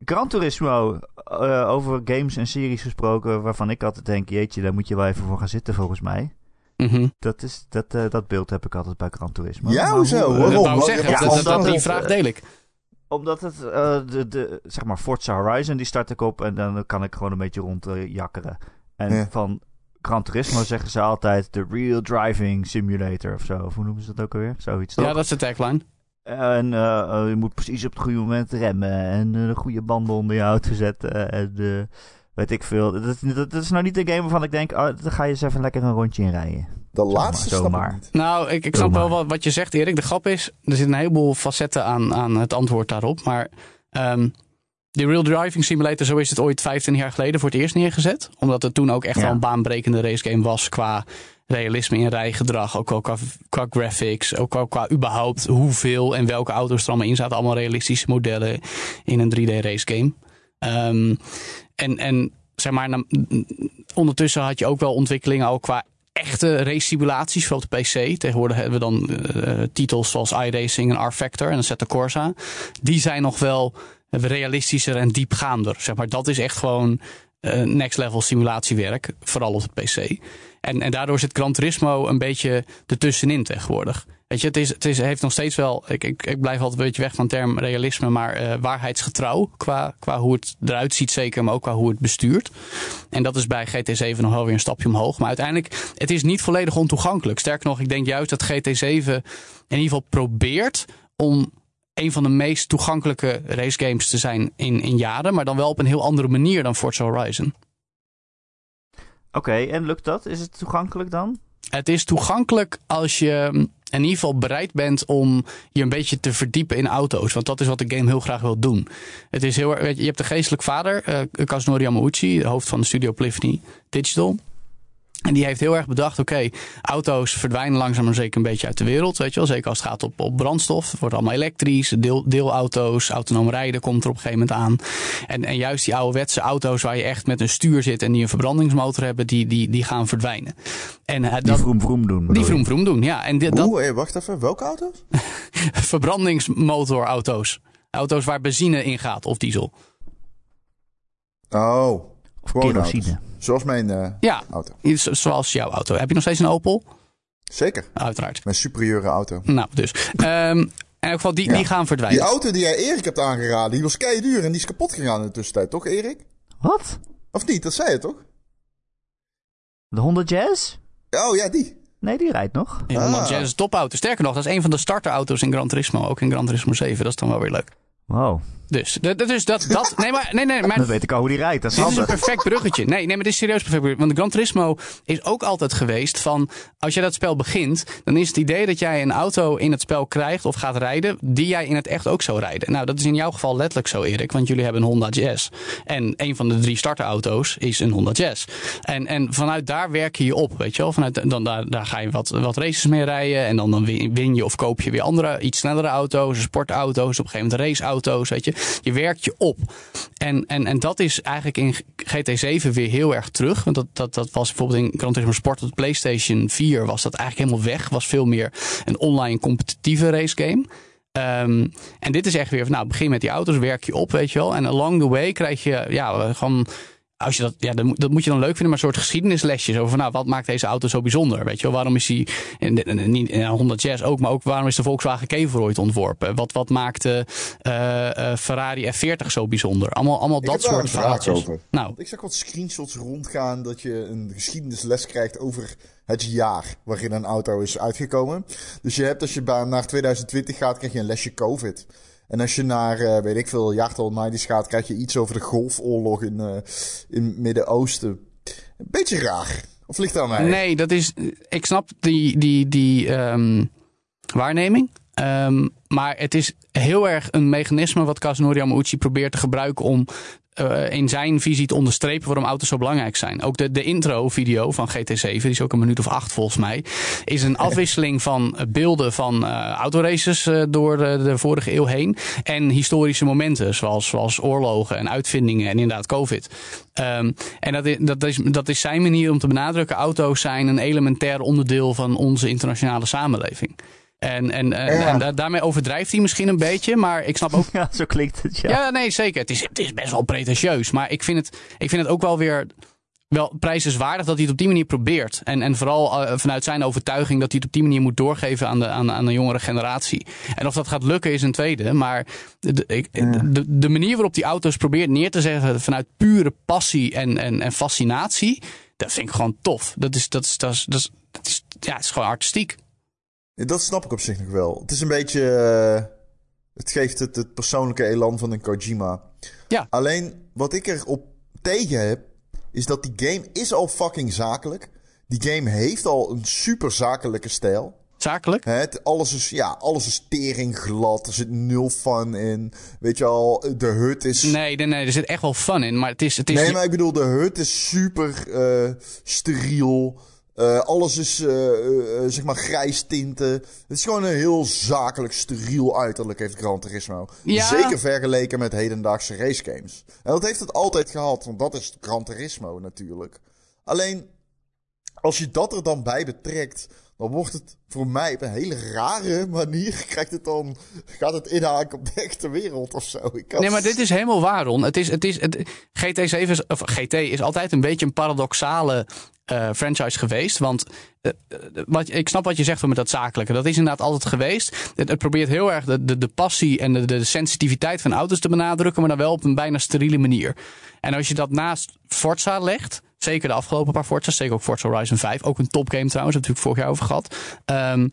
Speaker 1: Gran Turismo, eh, over games en series gesproken, waarvan ik altijd denk, jeetje, daar moet je wel even voor gaan zitten volgens mij.
Speaker 3: Mhm.
Speaker 1: Dat, is, dat, eh, dat beeld heb ik altijd bij Gran Turismo.
Speaker 2: Ja,
Speaker 1: Maar
Speaker 2: hoezo?
Speaker 1: hoe-
Speaker 2: Waarom?
Speaker 3: dat wou ik
Speaker 2: Waarom?
Speaker 3: zeggen,
Speaker 1: Ja,
Speaker 3: dat, dat- dat-
Speaker 1: omdat
Speaker 3: die
Speaker 1: het,
Speaker 3: vraag
Speaker 1: eh,
Speaker 3: deel ik.
Speaker 1: Omdat het, eh, de, de, zeg maar, Forza Horizon, die start ik op en dan kan ik gewoon een beetje rondjakkeren. en
Speaker 2: Ja.
Speaker 1: van Gran Turismo zeggen ze altijd de Real Driving Simulator of zo. Of hoe noemen ze dat ook alweer? Zoiets, toch?
Speaker 3: Ja, dat is de tagline.
Speaker 1: En eh, eh, je moet precies op het goede moment remmen en eh, de goede banden onder je auto zetten. En eh, weet ik veel. Dat, is- dat, dat is nou niet een game waarvan ik denk, oh, daar ga je eens even lekker een rondje in rijden.
Speaker 2: De
Speaker 1: maar,
Speaker 2: laatste snap
Speaker 1: zomaar.
Speaker 2: ik niet.
Speaker 3: Nou, ik, ik
Speaker 1: Doe
Speaker 3: snap wel
Speaker 1: maar.
Speaker 3: wat, wat je zegt, Erik. De grap is, er zitten een heleboel facetten aan, aan het antwoord daarop. Maar ehm die Real Driving Simulator, zo is het ooit 25 jaar geleden voor het eerst neergezet. Omdat het toen ook echt
Speaker 1: Ja.
Speaker 3: wel een baanbrekende racegame was qua realisme in rijgedrag. Ook wel qua, qua graphics, ook wel qua überhaupt hoeveel en welke auto's er allemaal in zaten. Allemaal realistische modellen in een 3D racegame. Ehm en, en zeg maar, na- ondertussen had je ook wel ontwikkelingen al qua echte race simulaties voor op de PC. Tegenwoordig hebben we dan eh, titels zoals iRacing en R-Factor en Zeta Corsa. Die zijn nog wel realistischer en diepgaander. Zeg maar, dat is echt gewoon eh, next level simulatiewerk, vooral op de PC. En, en daardoor zit Gran Turismo een beetje ertussenin tegenwoordig. Weet je, het, is, het is, heeft nog steeds wel. Ik, ik, ik blijf altijd een beetje weg van de term realisme, maar eh, waarheidsgetrouw. Qua, qua hoe het eruit ziet, zeker, maar ook qua hoe het bestuurt. En dat is bij GT7 nog wel weer een stapje omhoog. Maar uiteindelijk, het is niet volledig ontoegankelijk. Sterker nog, ik denk juist dat GT7 in ieder geval probeert om een van de meest toegankelijke racegames te zijn in, in jaren. Maar dan wel op een heel andere manier dan Forza Horizon.
Speaker 1: Oké, en lukt dat? Is het toegankelijk dan?
Speaker 3: Het is toegankelijk als je mm, in ieder geval bereid bent om je een beetje te verdiepen in auto's. Want dat is wat de game heel graag wil doen. Het is heel, erg- weet je, je hebt de geestelijk vader, eh Kazunori Yamauchi, de hoofd van de studio Polyphony Digital. En die heeft heel erg bedacht, oké, auto's verdwijnen langzaam maar zeker een beetje uit de wereld. Weet je wel, zeker als het gaat op, op brandstof. Het wordt allemaal elektrisch, deel, deelauto's, autonoom rijden komt er op een gegeven moment aan. En, en juist die ouderwetse auto's waar je echt met een stuur zit en die een verbrandingsmotor hebben, die, die, die gaan verdwijnen. En eh,
Speaker 1: Die
Speaker 3: dat,
Speaker 1: vroom vroom doen. bedoel
Speaker 3: die
Speaker 1: je?
Speaker 3: vroom vroom doen, ja. En dit, dat
Speaker 2: Oeh, hé, wacht even. Welke auto's?
Speaker 3: verbrandingsmotorauto's. Auto's waar benzine in gaat of diesel.
Speaker 2: Oh,
Speaker 1: Of
Speaker 2: gewoon
Speaker 1: kerosine.
Speaker 2: auto's. Zoals mijn eh,
Speaker 3: Ja,
Speaker 2: auto.
Speaker 3: iets zoals jouw auto. Heb je nog steeds een Opel?
Speaker 2: Zeker.
Speaker 3: Uiteraard.
Speaker 2: Mijn superieure auto.
Speaker 3: Nou, dus. Ehm, in elk geval, die,
Speaker 2: Ja.
Speaker 3: die gaan verdwijnen.
Speaker 2: Die auto die jij Erik hebt aangeraden, die was kei duur en die is kapot gegaan in de tussentijd, toch Erik?
Speaker 1: Wat?
Speaker 2: Of niet? Dat zei je toch?
Speaker 1: De Honda Jazz?
Speaker 2: Oh ja, die.
Speaker 1: Nee, die rijdt nog.
Speaker 3: Die Honda
Speaker 2: Ah.
Speaker 3: Jazz is een topauto. Sterker nog, dat is een van de starterauto's in Gran Turismo. Ook in Gran Turismo 7. Dat is dan wel weer leuk.
Speaker 1: Wow,
Speaker 3: Dus, d- d- dus dat, dat... Nee, maar... Nee, nee, maar
Speaker 1: dan weet ik al hoe die rijdt. Dat is
Speaker 3: Dit is een
Speaker 1: handig.
Speaker 3: perfect bruggetje. Nee, nee, maar dit is serieus perfect bruggetje. Want Gran Turismo is ook altijd geweest van... als jij dat spel begint, dan is het idee dat jij een auto in het spel krijgt... of gaat rijden, die jij in het echt ook zou rijden. Nou, dat is in jouw geval letterlijk zo, Erik. Want jullie hebben een Honda Jazz. En een van de drie starterauto's is een Honda Jazz. En, en vanuit daar werk je je op, weet je wel. Vanuit, dan, daar, daar ga je wat, wat races mee rijden. En dan, dan win, win je of koop je weer andere, iets snellere auto's... sportauto's, op een gegeven moment raceauto's, weet je. Je werkt je op. En, en, en dat is eigenlijk in GT7 weer heel erg terug. Want dat, dat, dat was bijvoorbeeld in Gran Turismo Sport op de PlayStation 4 was dat eigenlijk helemaal weg. Was veel meer een online competitieve racegame. Ehm, en dit is echt weer van, nou, begin met die auto's, werk je op, weet je wel. En along the way krijg je, ja, gewoon... Als je dat, ja, dat moet- dat moet je dan leuk vinden, maar een soort geschiedenislesjes over van, nou, wat maakt deze auto zo bijzonder? Weet je wel, waarom is die, en, en, en, niet- en Honda Jazz ook, maar ook waarom is de Volkswagen Kever ooit ontworpen? Wat, wat maakte eh, eh, Ferrari F40 zo bijzonder? Allemaal, allemaal
Speaker 2: Ik
Speaker 3: dat
Speaker 2: heb daar
Speaker 3: soort
Speaker 2: een vraag
Speaker 3: verhaaltjes.
Speaker 2: over.
Speaker 3: Nou,
Speaker 2: Ik zag wat screenshots rondgaan dat je een geschiedenisles krijgt over het jaar waarin een auto is uitgekomen. Dus je hebt als je ba- naar 2020 gaat, krijg je een lesje COVID. En als je naar, eh, weet ik veel, jaartal 90s gaat, krijg je iets over de golfoorlog in, eh, in het Midden-Oosten. Een beetje raar. Of ligt dat aan mij?
Speaker 3: Nee, dat is. Ik snap die, die, die ehm, waarneming. Ehm, maar het is heel erg een mechanisme wat Kazunori Yamauchi probeert te gebruiken om. eh, in zijn visie te onderstrepen waarom auto's zo belangrijk zijn. Ook de, de intro-video van GT7, die is ook een minuut of acht volgens mij, is een afwisseling van eh, beelden van eh, autoraces eh, door eh, de vorige eeuw heen en historische momenten, zoals, zoals oorlogen en uitvindingen en inderdaad COVID. Ehm, en dat is, dat, is, dat is zijn manier om te benadrukken: auto's zijn een elementair onderdeel van onze internationale samenleving. En, en, en,
Speaker 2: Ja.
Speaker 3: en da- daarmee overdrijft hij misschien een beetje, maar ik snap ook.
Speaker 1: Ja, zo klinkt het, ja.
Speaker 3: Ja, nee, zeker. Het is, het is best wel pretentieus. Maar ik vind, het, ik vind het ook wel weer wel prijzenswaardig dat hij het op die manier probeert. En, en vooral eh, vanuit zijn overtuiging dat hij het op die manier moet doorgeven aan de, aan, aan de jongere generatie. En of dat gaat lukken is een tweede. Maar de, ik- de, de manier waarop die auto's probeert neer te zeggen vanuit pure passie en, en, en fascinatie. Dat vind ik gewoon tof. Dat is, dat is, dat is, dat is, dat is- ja, het is gewoon artistiek.
Speaker 2: Dat snap ik op zich nog wel. Het is een beetje. eh, het geeft het, het persoonlijke elan van een Kojima.
Speaker 3: Ja.
Speaker 2: Alleen wat ik erop tegen heb. Is dat die game is al fucking zakelijk. Die game heeft al een super zakelijke stijl.
Speaker 3: Zakelijk.
Speaker 2: Hè, Het, alles, is, ja, alles is tering glad. Er zit nul fun in. Weet je al, de hut is.
Speaker 3: Nee, nee, nee, er zit echt wel fun in. Maar het is. Het is
Speaker 2: Nee, maar ik bedoel, de hut is super eh, steriel. Eh, alles is, eh, eh, eh, zeg maar, grijs tinten. Het is gewoon een heel zakelijk, steriel uiterlijk, heeft Gran Turismo.
Speaker 3: Ja.
Speaker 2: Zeker vergeleken met hedendaagse racegames. En dat heeft het altijd gehad, want dat is Gran Turismo natuurlijk. Alleen, als je dat er dan bij betrekt, dan wordt het voor mij op een hele rare manier... Krijgt het dan, gaat het inhaken op de echte wereld of zo. Ik kan-
Speaker 3: Nee, maar dit is helemaal waar, Ron. Het is, het is, het, GT7 is, of GT is altijd een beetje een paradoxale eh, franchise geweest. Want eh, eh, wat, ik snap wat je zegt van met dat zakelijke. Dat is inderdaad altijd geweest. Het, het probeert heel erg de, de, de passie en de, de sensitiviteit van auto's te benadrukken. Maar dan wel op een bijna steriele manier. En als je dat naast Forza legt. Zeker de afgelopen paar Forza's. Zeker ook Forza Horizon 5. Ook een topgame trouwens. Daar hebben we het natuurlijk vorig jaar over gehad. Ehm,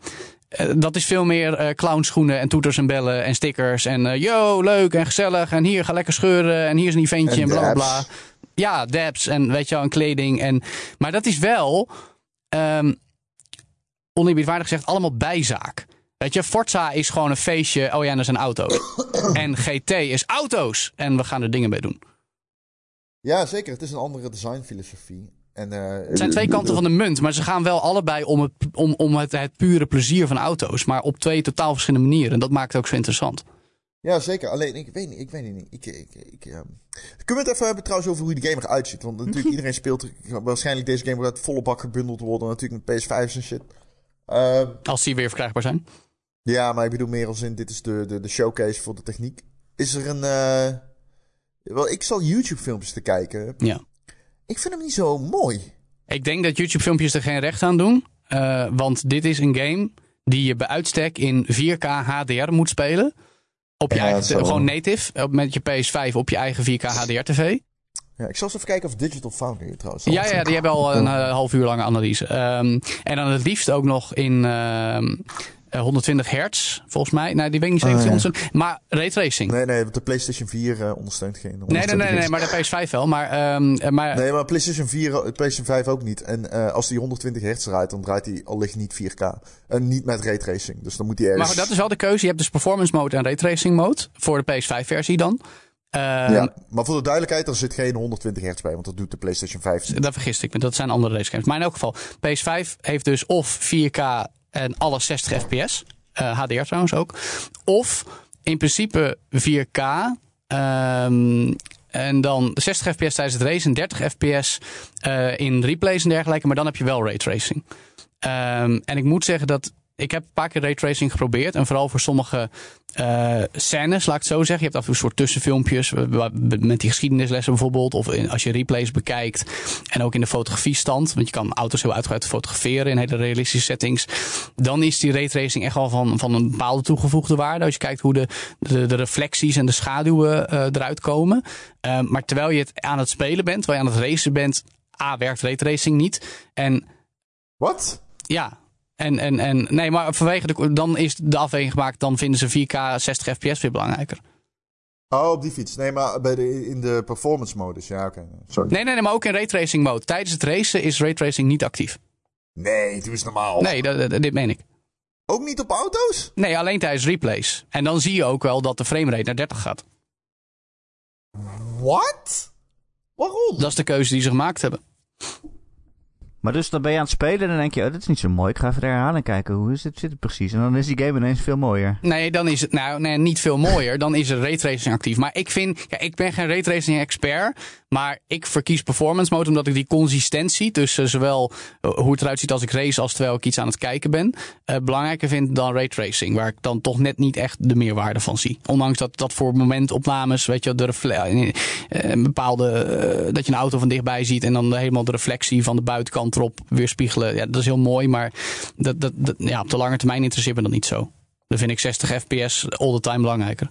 Speaker 3: eh, dat is veel meer eh clownschoenen en toeters en bellen en stickers. En eh, yo, leuk en gezellig. En hier, ga lekker scheuren. En hier is een eventje en,
Speaker 2: En
Speaker 3: bla bla bla.
Speaker 2: dabs.
Speaker 3: Ja, dabs en weet je wel, en kleding. En, maar dat is wel, ehm oneerbiedwaardig gezegd, allemaal bijzaak. Weet je, Forza is gewoon een feestje. Oh ja, en er zijn auto's. en GT is auto's. En we gaan er dingen mee doen.
Speaker 2: Ja, zeker. Het is een andere designfilosofie. En, eh,
Speaker 3: Het zijn twee kanten van de munt, maar ze gaan wel allebei om, het, om, om het, het pure plezier van auto's. Maar op twee totaal verschillende manieren. En dat maakt het ook zo interessant.
Speaker 2: Ja, zeker. Alleen, ik weet niet. Ik weet het niet. Ik, ik, ik, ehm, Kunnen we het even hebben trouwens over hoe die game eruit ziet? Want natuurlijk, iedereen speelt... Waarschijnlijk deze game wordt uit volle bak gebundeld worden. Natuurlijk met PS5's en shit. Ehm,
Speaker 3: Als die weer verkrijgbaar zijn.
Speaker 2: ja, maar ik bedoel meer als in... Dit is de, de, de showcase voor de techniek. Is er een... eh, Wel, ik zal YouTube-filmpjes te kijken.
Speaker 3: Ja.
Speaker 2: Ik vind hem niet zo mooi.
Speaker 3: Ik denk dat YouTube-filmpjes er geen recht aan doen. eh, want dit is een game die je bij uitstek in 4K HDR moet spelen. Op je
Speaker 2: Ja,
Speaker 3: eigen,
Speaker 2: dat zal
Speaker 3: gewoon
Speaker 2: wel.
Speaker 3: native, eh, met je PS5 op je eigen 4K HDR-TV.
Speaker 2: Ja, ik zal eens even kijken of Digital Foundry het trouwens...
Speaker 3: Ja, ja, die hebben al een eh, half uur lange analyse. Ehm, en dan het liefst ook nog in ehm, eh, 120 hertz, volgens mij. Nou, die weet ik niet zeker. of die
Speaker 2: Oh, ja.
Speaker 3: 120 Maar raytracing. Nee,
Speaker 2: Nee, nee, want de PlayStation 4 eh, ondersteunt geen...
Speaker 3: nee, nee, nee, maar de PS5 wel. Maar, ehm, eh, maar
Speaker 2: Nee, maar PlayStation 4, eh, PlayStation 5 ook niet. En eh, als die 120 hertz draait, dan draait die allicht niet 4K. En niet met raytracing. Dus dan moet die ergens...
Speaker 3: Maar goed, dat is wel de keuze. Je hebt dus performance mode en raytracing mode. Voor de PS5-versie dan. Ehm,
Speaker 2: Ja, maar voor de duidelijkheid, er zit geen 120 hertz bij. Want dat doet de PlayStation 5. niet.
Speaker 3: Daar vergist ik me. Dat zijn andere racegames. Maar in elk geval, PS5 heeft dus of 4K en alle 60 fps. eh, HDR trouwens ook. Of in principe 4K. ehm, en dan 60 fps tijdens het racen, 30 fps eh, in replays en dergelijke. Maar dan heb je wel raytracing. Ehm, en ik moet zeggen dat ik heb een paar keer raytracing geprobeerd. En vooral voor sommige eh, scènes, laat ik het zo zeggen. Je hebt af en toe een soort tussenfilmpjes. wa- wa- Met die geschiedenislessen bijvoorbeeld. Of in- als je replays bekijkt. En ook in de fotografiestand. Want je kan auto's heel uitgebreid fotograferen in hele realistische settings. Dan is die raytracing echt wel van, van een bepaalde toegevoegde waarde. Als je kijkt hoe de, de, de reflecties en de schaduwen eh, eruit komen. Ehm, maar terwijl je het aan het spelen bent, terwijl je aan het racen bent. A, werkt raytracing niet. En
Speaker 2: Wat?
Speaker 3: ja. En, en, en nee, maar vanwege de, dan is de afweging gemaakt, dan vinden ze 4K 60 fps weer belangrijker.
Speaker 2: Oh, op die fiets. Nee, maar bij de, in de performance modus. Ja, oké. Sorry.
Speaker 3: Nee, nee, nee, maar ook in raytracing mode. Tijdens het racen is raytracing niet actief.
Speaker 2: Nee, doe eens normaal.
Speaker 3: Nee, dat, dat- dit meen ik.
Speaker 2: Ook niet op auto's?
Speaker 3: Nee, alleen tijdens replays. En dan zie je ook wel dat de framerate naar 30 gaat.
Speaker 2: What? Waarom?
Speaker 3: Dat is de keuze die ze gemaakt hebben.
Speaker 1: Maar dus dan ben je aan het spelen en dan denk je, oh, dit is niet zo mooi. Ik ga even de herhaling kijken. Hoe is het, zit het precies? En dan is die game ineens veel mooier.
Speaker 3: Nee, dan is het nou nee, niet veel mooier. Dan is er raytracing actief. Maar ik vind, ja, ik ben geen raytracing expert. Maar ik verkies performance mode omdat ik die consistentie tussen zowel eh, hoe het eruit ziet als ik race als terwijl ik iets aan het kijken ben. eh, belangrijker vind dan raytracing. Waar ik dan toch net niet echt de meerwaarde van zie. Ondanks dat dat voor momentopnames, weet je, de refle- eh, een bepaalde. eh, dat je een auto van dichtbij ziet en dan helemaal de reflectie van de buitenkant erop weerspiegelen. Ja, dat is heel mooi. Maar dat, dat, dat, ja, op de lange termijn interesseert me dat niet zo. Dan vind ik 60 fps all the time belangrijker.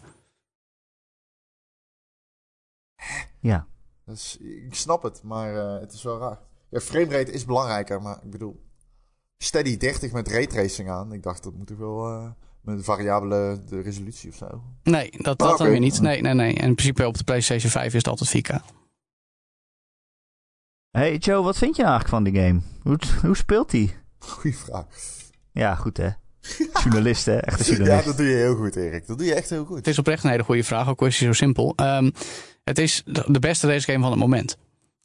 Speaker 1: Ja.
Speaker 2: Dat is- ik snap het, maar eh, het is wel raar. Ja, framerate is belangrijker, maar ik bedoel... Steady 30 met raytracing aan. Ik dacht, dat moet ik wel eh, met een variabele de resolutie of zo.
Speaker 3: Nee, dat, dat
Speaker 2: Ah,
Speaker 3: dan
Speaker 2: oké.
Speaker 3: weer niet. Nee, nee, nee. En in principe op de PlayStation 5 is het altijd 4K.
Speaker 1: Hey Joe, wat vind je nou eigenlijk van die game? Hoe, hoe speelt die?
Speaker 2: Goeie vraag.
Speaker 1: Ja, goed hè. Journalist hè, echte
Speaker 2: Ja,
Speaker 1: journalist.
Speaker 2: dat doe je heel goed, Erik. Dat doe je echt heel goed.
Speaker 3: Het is oprecht een hele goede vraag, ook al is die zo simpel. Ehm, het is de de beste racegame van het moment.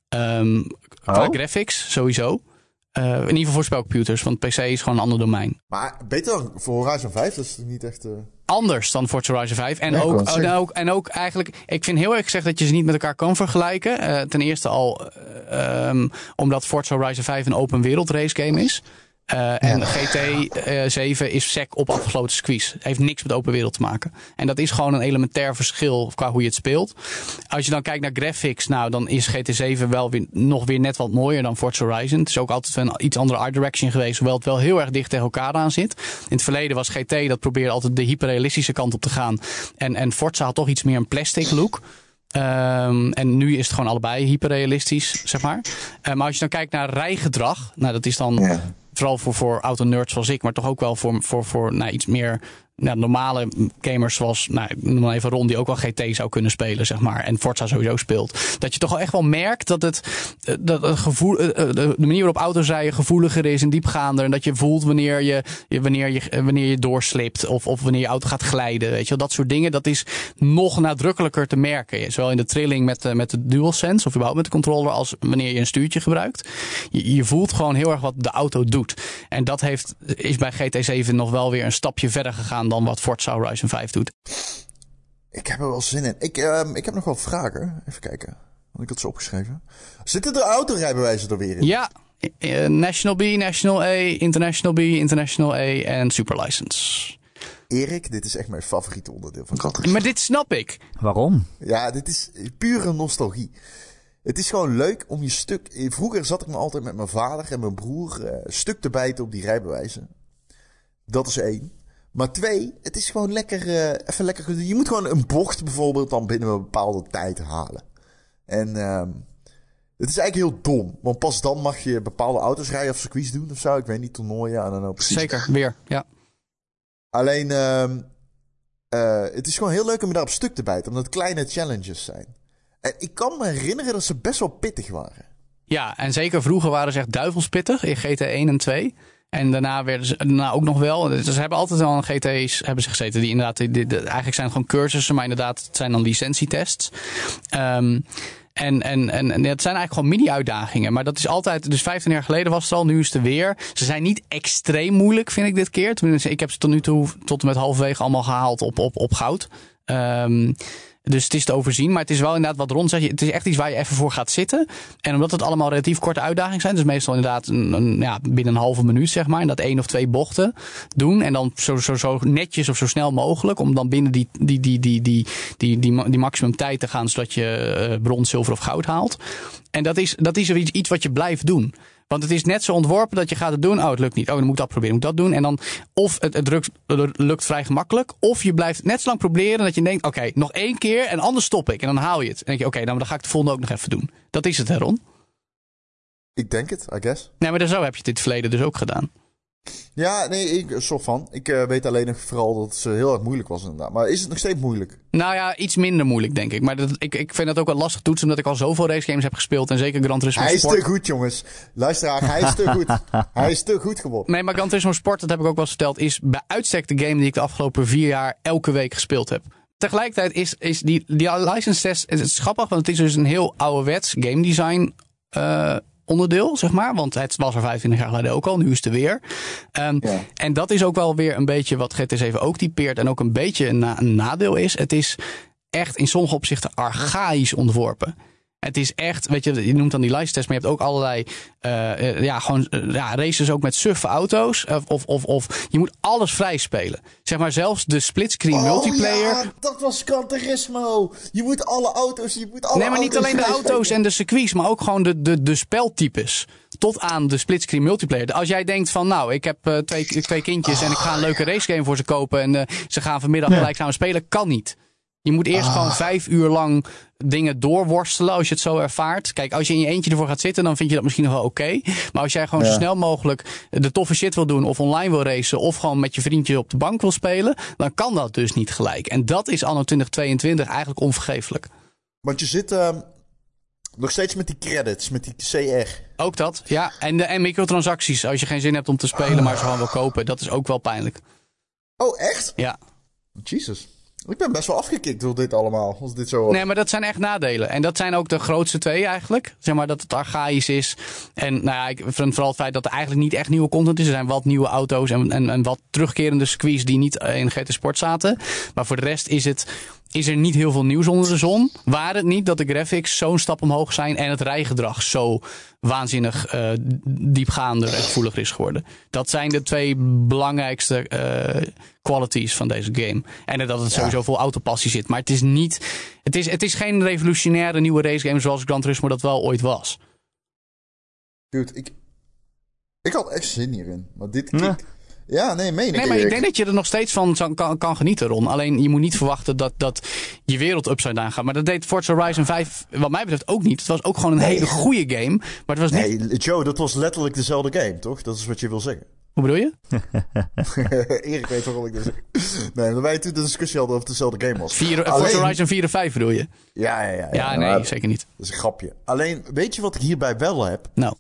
Speaker 3: Ehm, qua
Speaker 1: Oh.
Speaker 3: graphics sowieso. Eh, in ieder geval voor spelcomputers, want PC is gewoon een ander domein.
Speaker 2: Maar beter dan voor Horizon 5, dat is toch niet echt... eh,
Speaker 3: Anders dan Forza Horizon 5. En,
Speaker 2: Ja, ik
Speaker 3: ook,
Speaker 2: wou het
Speaker 3: en,
Speaker 2: zeggen.
Speaker 3: ook, en ook eigenlijk, ik vind heel erg gezegd dat je ze niet met elkaar kan vergelijken. Eh, ten eerste al eh, ehm, omdat Forza Horizon 5 een open wereld racegame is. Eh, en GT eh, 7 is sec op afgesloten squeeze. Heeft niks met open wereld te maken. En dat is gewoon een elementair verschil qua hoe je het speelt. Als je dan kijkt naar graphics, nou dan is GT 7 wel weer, nog weer net wat mooier dan Forza Horizon. Het is ook altijd een iets andere art direction geweest, hoewel het wel heel erg dicht tegen elkaar aan zit. In het verleden was GT, dat probeerde altijd de hyperrealistische kant op te gaan. En, en Forza had toch iets meer een plastic look. Ehm, en nu is het gewoon allebei hyperrealistisch, zeg maar. Eh, maar als je dan kijkt naar rijgedrag, nou dat is dan vooral voor, voor auto-nerds zoals ik, maar toch ook wel voor, voor, voor nou, iets meer nou, normale gamers zoals, nou, ik noem maar even Ron, die ook wel GT zou kunnen spelen, zeg maar. En Forza sowieso speelt. Dat je toch wel echt wel merkt dat het, eh, dat het gevoel, eh, eh, de de manier waarop auto's rijden gevoeliger is en diepgaander. En dat je voelt wanneer je, je- wanneer je, eh, wanneer je doorslipt of, of wanneer je auto gaat glijden. Weet je wel, dat soort dingen. Dat is nog nadrukkelijker te merken. Zowel in de trilling met, de- met de DualSense of überhaupt met de controller als wanneer je een stuurtje gebruikt. Je, je voelt gewoon heel erg wat de auto doet. En dat heeft, is bij GT7 nog wel weer een stapje verder gegaan dan wat Forza Horizon 5 doet.
Speaker 2: Ik heb er wel zin in. Ik, ehm, ik heb nog wel vragen. Even kijken. Want ik had ze opgeschreven. Zitten er autorijbewijzen er weer in?
Speaker 3: Ja, eh, National B, National A, International B, International A en Super License.
Speaker 2: Erik, dit is echt mijn favoriete onderdeel van Katrin.
Speaker 3: Maar dit snap ik.
Speaker 1: Waarom?
Speaker 2: Ja, dit is pure nostalgie. Het is gewoon leuk om je stuk. Vroeger zat ik me altijd met mijn vader en mijn broer eh, stuk te bijten op die rijbewijzen. Dat is één. Maar twee, het is gewoon lekker. eh, even lekker. Je moet gewoon een bocht bijvoorbeeld dan binnen een bepaalde tijd halen. En ehm, het is eigenlijk heel dom. Want pas dan mag je bepaalde auto's rijden of circuits doen of zo. Ik weet niet, toernooien. I don't know precies.
Speaker 3: Zeker, weer. Ja.
Speaker 2: Alleen, ehm, eh, het is gewoon heel leuk om je daar op stuk te bijten, omdat het kleine challenges zijn. En ik kan me herinneren dat ze best wel pittig waren.
Speaker 3: ja, en zeker vroeger waren ze echt duivelspittig in GT 1 en 2. En daarna werden ze daarna ook nog wel. dus Ze hebben altijd wel een GT's hebben ze gezeten. Die inderdaad, die, die- die- eigenlijk zijn het gewoon cursussen, maar inderdaad, het zijn dan licentietests. Ehm, en, en, en, en dat zijn eigenlijk gewoon mini-uitdagingen. Maar dat is altijd. Dus 15 jaar geleden was het al, nu is het er weer. Ze zijn niet extreem moeilijk, vind ik dit keer. Tenminste, ik heb ze tot nu toe tot en met halverwege allemaal gehaald op, op, op goud. Ehm, dus het is te overzien, maar het is wel inderdaad wat rond. Het is echt iets waar je even voor gaat zitten. En omdat het allemaal relatief korte uitdagingen zijn, dus meestal inderdaad een, een, ja, binnen een halve minuut, zeg maar, dat één of twee bochten doen. En dan zo, zo, zo netjes of zo snel mogelijk, om dan binnen die, die, die, die, die, die, die, ma- die maximum tijd te gaan, zodat je eh, brons, zilver of goud haalt. En dat is, dat is iets, iets wat je blijft doen. Want het is net zo ontworpen dat je gaat het doen. Oh, het lukt niet. Oh, dan moet ik dat proberen. Moet ik dat doen. En dan of het, het lukt, het lukt vrij gemakkelijk. Of je blijft net zo lang proberen dat je denkt... Oké, nog één keer en anders stop ik. En dan haal je het. En dan denk je, oké, nou, dan ga ik de volgende ook nog even doen. Dat is het, hè, Ron?
Speaker 2: Ik denk het, I guess.
Speaker 3: Nee, maar zo heb je het in het verleden dus ook gedaan.
Speaker 2: Ja, nee, ik een soort van. Ik eh, weet alleen nog vooral dat ze heel erg moeilijk was inderdaad. Maar is het nog steeds moeilijk?
Speaker 3: Nou ja, iets minder moeilijk, denk ik. Maar dat, ik, ik vind dat ook wel lastig toetsen... omdat ik al zoveel racegames heb gespeeld. En zeker Gran Turismo
Speaker 2: hij is
Speaker 3: Sport.
Speaker 2: te goed, jongens. Luisteraar, hij is te goed. hij is te goed geworden.
Speaker 3: Nee, maar Gran Turismo Sport, dat heb ik ook wel eens verteld, is bij uitstek de game die ik de afgelopen vier jaar elke week gespeeld heb. Tegelijkertijd is, is die, die license test, het is grappig, want het is dus een heel ouderwets game design eh, onderdeel, zeg maar. Want het was er 25 jaar geleden ook al, nu is het er weer. Ehm,
Speaker 2: Ja.
Speaker 3: En dat is ook wel weer een beetje wat GT7 ook typeert en ook een beetje een, na- een nadeel is. Het is echt in sommige opzichten archaïs ontworpen. Het is echt, weet je, je noemt dan die licentest, maar je hebt ook allerlei eh, eh, ja, gewoon, eh, ja, races ook met suffe auto's. Of, of, of, of je moet alles vrij spelen. Zeg maar zelfs de splitscreen multiplayer.
Speaker 2: Oh, ja, dat was Gran Turismo. Je moet alle auto's, je moet alle
Speaker 3: Nee, maar niet alleen de
Speaker 2: rijden.
Speaker 3: auto's en de circuits, maar ook gewoon de, de, de speltypes. Tot aan de splitscreen multiplayer. Als jij denkt van, nou, ik heb eh, twee, twee kindjes en ik ga een leuke racegame voor ze kopen. En eh, ze gaan vanmiddag gelijk samen spelen, kan niet. Je moet eerst gewoon vijf uur lang dingen doorworstelen als je het zo ervaart. Kijk, als je in je eentje ervoor gaat zitten, dan vind je dat misschien nog wel oké. Maar als jij gewoon zo
Speaker 2: Ja.
Speaker 3: snel mogelijk de toffe shit wil doen, of online wil racen, of gewoon met je vriendje op de bank wil spelen, dan kan dat dus niet gelijk. En dat is anno 2022 eigenlijk onvergeeflijk.
Speaker 2: Want je zit ehm, nog steeds met die credits, met die CR.
Speaker 3: Ook dat, ja. En, de, en microtransacties. Als je geen zin hebt om te spelen, maar ze gewoon wil kopen. Dat is ook wel pijnlijk.
Speaker 2: Oh, echt?
Speaker 3: Ja.
Speaker 2: Jesus. Ik ben best wel afgekikt door dit allemaal. Als dit zo...
Speaker 3: Nee, maar dat zijn echt nadelen. En dat zijn ook de grootste twee eigenlijk. Zeg maar dat het archaïs is. En nou ja, ik vind vooral het feit dat er eigenlijk niet echt nieuwe content is. Er zijn wat nieuwe auto's en, en, en wat terugkerende circuits die niet eh, in GT Sport zaten. Maar voor de rest is, het, is er niet heel veel nieuws onder de zon. Waar het niet dat de graphics zo'n stap omhoog zijn en het rijgedrag zo waanzinnig eh, diepgaander en gevoeliger is geworden. Dat zijn de twee belangrijkste eh, qualities van deze game. En dat het sowieso vol autopassie zit. Maar het is niet. Het is, het is geen revolutionaire nieuwe racegame zoals Gran Turismo dat wel ooit was.
Speaker 2: Dude, ik... Ik had echt zin hierin. Maar dit
Speaker 1: Ja.
Speaker 2: kikt... Ja, nee, meen ik
Speaker 3: Nee, maar ik
Speaker 2: Erik.
Speaker 3: denk dat je er nog steeds van zou- kan, kan genieten, Ron. Alleen je moet niet verwachten dat, dat je wereld upside down gaat. Maar dat deed Forza Horizon 5, wat mij betreft, ook niet. Het was ook gewoon een hele goede game. Maar het was niet.
Speaker 2: Nee, Joe, dat was letterlijk dezelfde game, toch? Dat is wat je wil zeggen.
Speaker 3: Hoe bedoel je?
Speaker 2: Erik weet waarom ik dat zeg. Nee, maar wij toen de discussie hadden of het dezelfde game was.
Speaker 3: Vier, eh,
Speaker 2: Alleen-
Speaker 3: Forza Horizon 4 en 5 bedoel je?
Speaker 2: Ja, ja, ja.
Speaker 3: Ja, nee,
Speaker 2: maar
Speaker 3: zeker niet.
Speaker 2: Dat is een grapje. Alleen, weet je wat ik hierbij wel heb?
Speaker 3: Nou,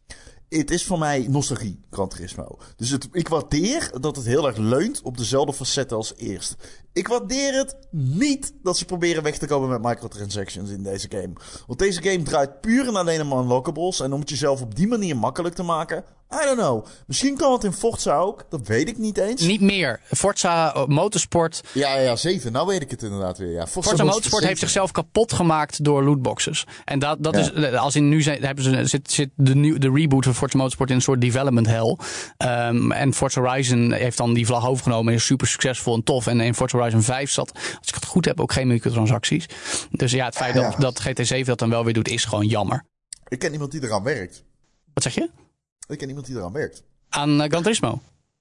Speaker 2: Het is voor mij nostalgie, Gran Turismo. Dus het, ik waardeer dat het heel erg leunt op dezelfde facetten als eerst. Ik waardeer het niet dat ze proberen weg te komen met microtransactions in deze game. Want deze game draait puur en alleen om unlockables. En om het jezelf op die manier makkelijk te maken. I don't know. Misschien kan het in Forza ook. Dat weet ik niet eens.
Speaker 3: niet meer. Forza eh, Motorsport.
Speaker 2: Ja, ja, ja, zeven. Nou weet ik het inderdaad weer. Ja.
Speaker 3: Forza Motorsport heeft
Speaker 2: 7.
Speaker 3: zichzelf kapot gemaakt door lootboxes. En dat, dat
Speaker 2: Ja.
Speaker 3: is, eh, als in nu zijn, hebben ze, zit, zit de, nieuw, de reboot van Forza Motorsport in een soort development hell. Ehm, en Forza Horizon heeft dan die vlag overgenomen en is super succesvol en tof. En in Forza Horizon 5 zat, als ik het goed heb, ook geen microtransacties. Dus ja, het feit dat,
Speaker 2: Ja.
Speaker 3: dat GT7 dat dan wel weer doet, is gewoon jammer.
Speaker 2: Ik ken iemand die eraan werkt.
Speaker 3: Wat zeg je?
Speaker 2: Ik ken iemand die eraan werkt.
Speaker 3: Aan eh, Gran Turismo.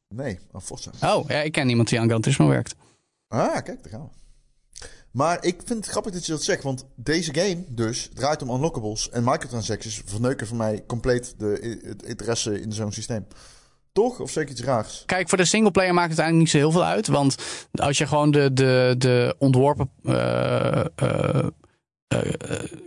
Speaker 2: Nee, aan Forza.
Speaker 3: Oh, ja, ik ken iemand die aan Gran Turismo werkt.
Speaker 2: Ah, kijk, daar gaan we. Maar ik vind het grappig dat je dat zegt, want deze game dus draait om unlockables en microtransactions verneuken voor mij compleet de, het interesse in zo'n systeem. Toch? Of zeker iets raars?
Speaker 3: Kijk, voor de singleplayer maakt het eigenlijk niet zo heel veel uit. Want als je gewoon de, de, de ontworpen eh, eh, eh,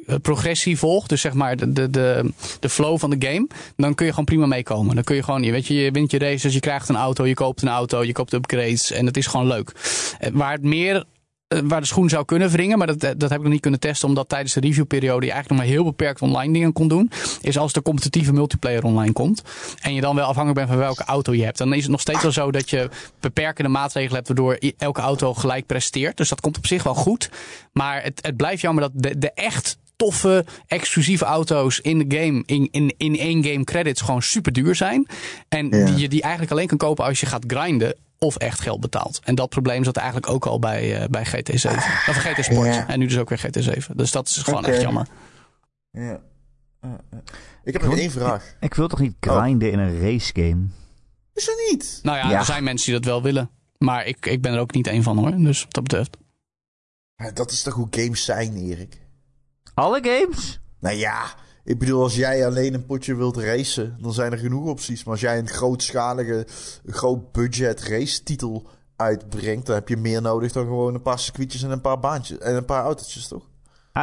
Speaker 3: eh, progressie volgt, dus zeg maar de, de, de, de flow van de game, dan kun je gewoon prima meekomen. Dan kun je gewoon, je weet je, je wint je races, je krijgt een auto, je koopt een auto, je koopt upgrades en het is gewoon leuk. Eh, Waar het meer eh, waar de schoen zou kunnen wringen, maar dat, eh, dat heb ik nog niet kunnen testen, omdat tijdens de reviewperiode je eigenlijk nog maar heel beperkt online dingen kon doen, is als de competitieve multiplayer online komt en je dan wel afhankelijk bent van welke auto je hebt, dan is het nog steeds wel zo dat je beperkende maatregelen hebt waardoor i- elke auto gelijk presteert. Dus dat komt op zich wel goed, maar het, het blijft jammer dat de, de echt toffe, exclusieve auto's in de game, in, in, in één game credits gewoon super duur zijn. En
Speaker 2: Ja.
Speaker 3: die je die eigenlijk alleen kan kopen als je gaat grinden of echt geld betaalt. En dat probleem zat eigenlijk ook al bij, eh, bij GT7. Of GT Sport.
Speaker 2: Ah, Ja.
Speaker 3: En nu dus ook weer GT7. Dus dat is gewoon
Speaker 2: Oké.
Speaker 3: echt jammer.
Speaker 2: Ja. Eh, eh. Ik heb nog één vraag.
Speaker 1: Ik wil toch niet
Speaker 3: Oh.
Speaker 1: grinden in een racegame?
Speaker 2: Is er niet?
Speaker 3: Nou ja,
Speaker 1: Ja.
Speaker 3: er zijn mensen die dat wel willen. Maar ik, ik ben er ook niet één van hoor. Dus wat dat betreft.
Speaker 2: Ja, Dat is toch hoe games zijn, Erik?
Speaker 1: Alle games?
Speaker 2: Nou ja, ik bedoel, als jij alleen een potje wilt racen, dan zijn er genoeg opties. Maar als jij een grootschalige, groot budget race titel uitbrengt, dan heb je meer nodig dan gewoon een paar circuitjes en een paar baantjes en een paar autootjes, toch?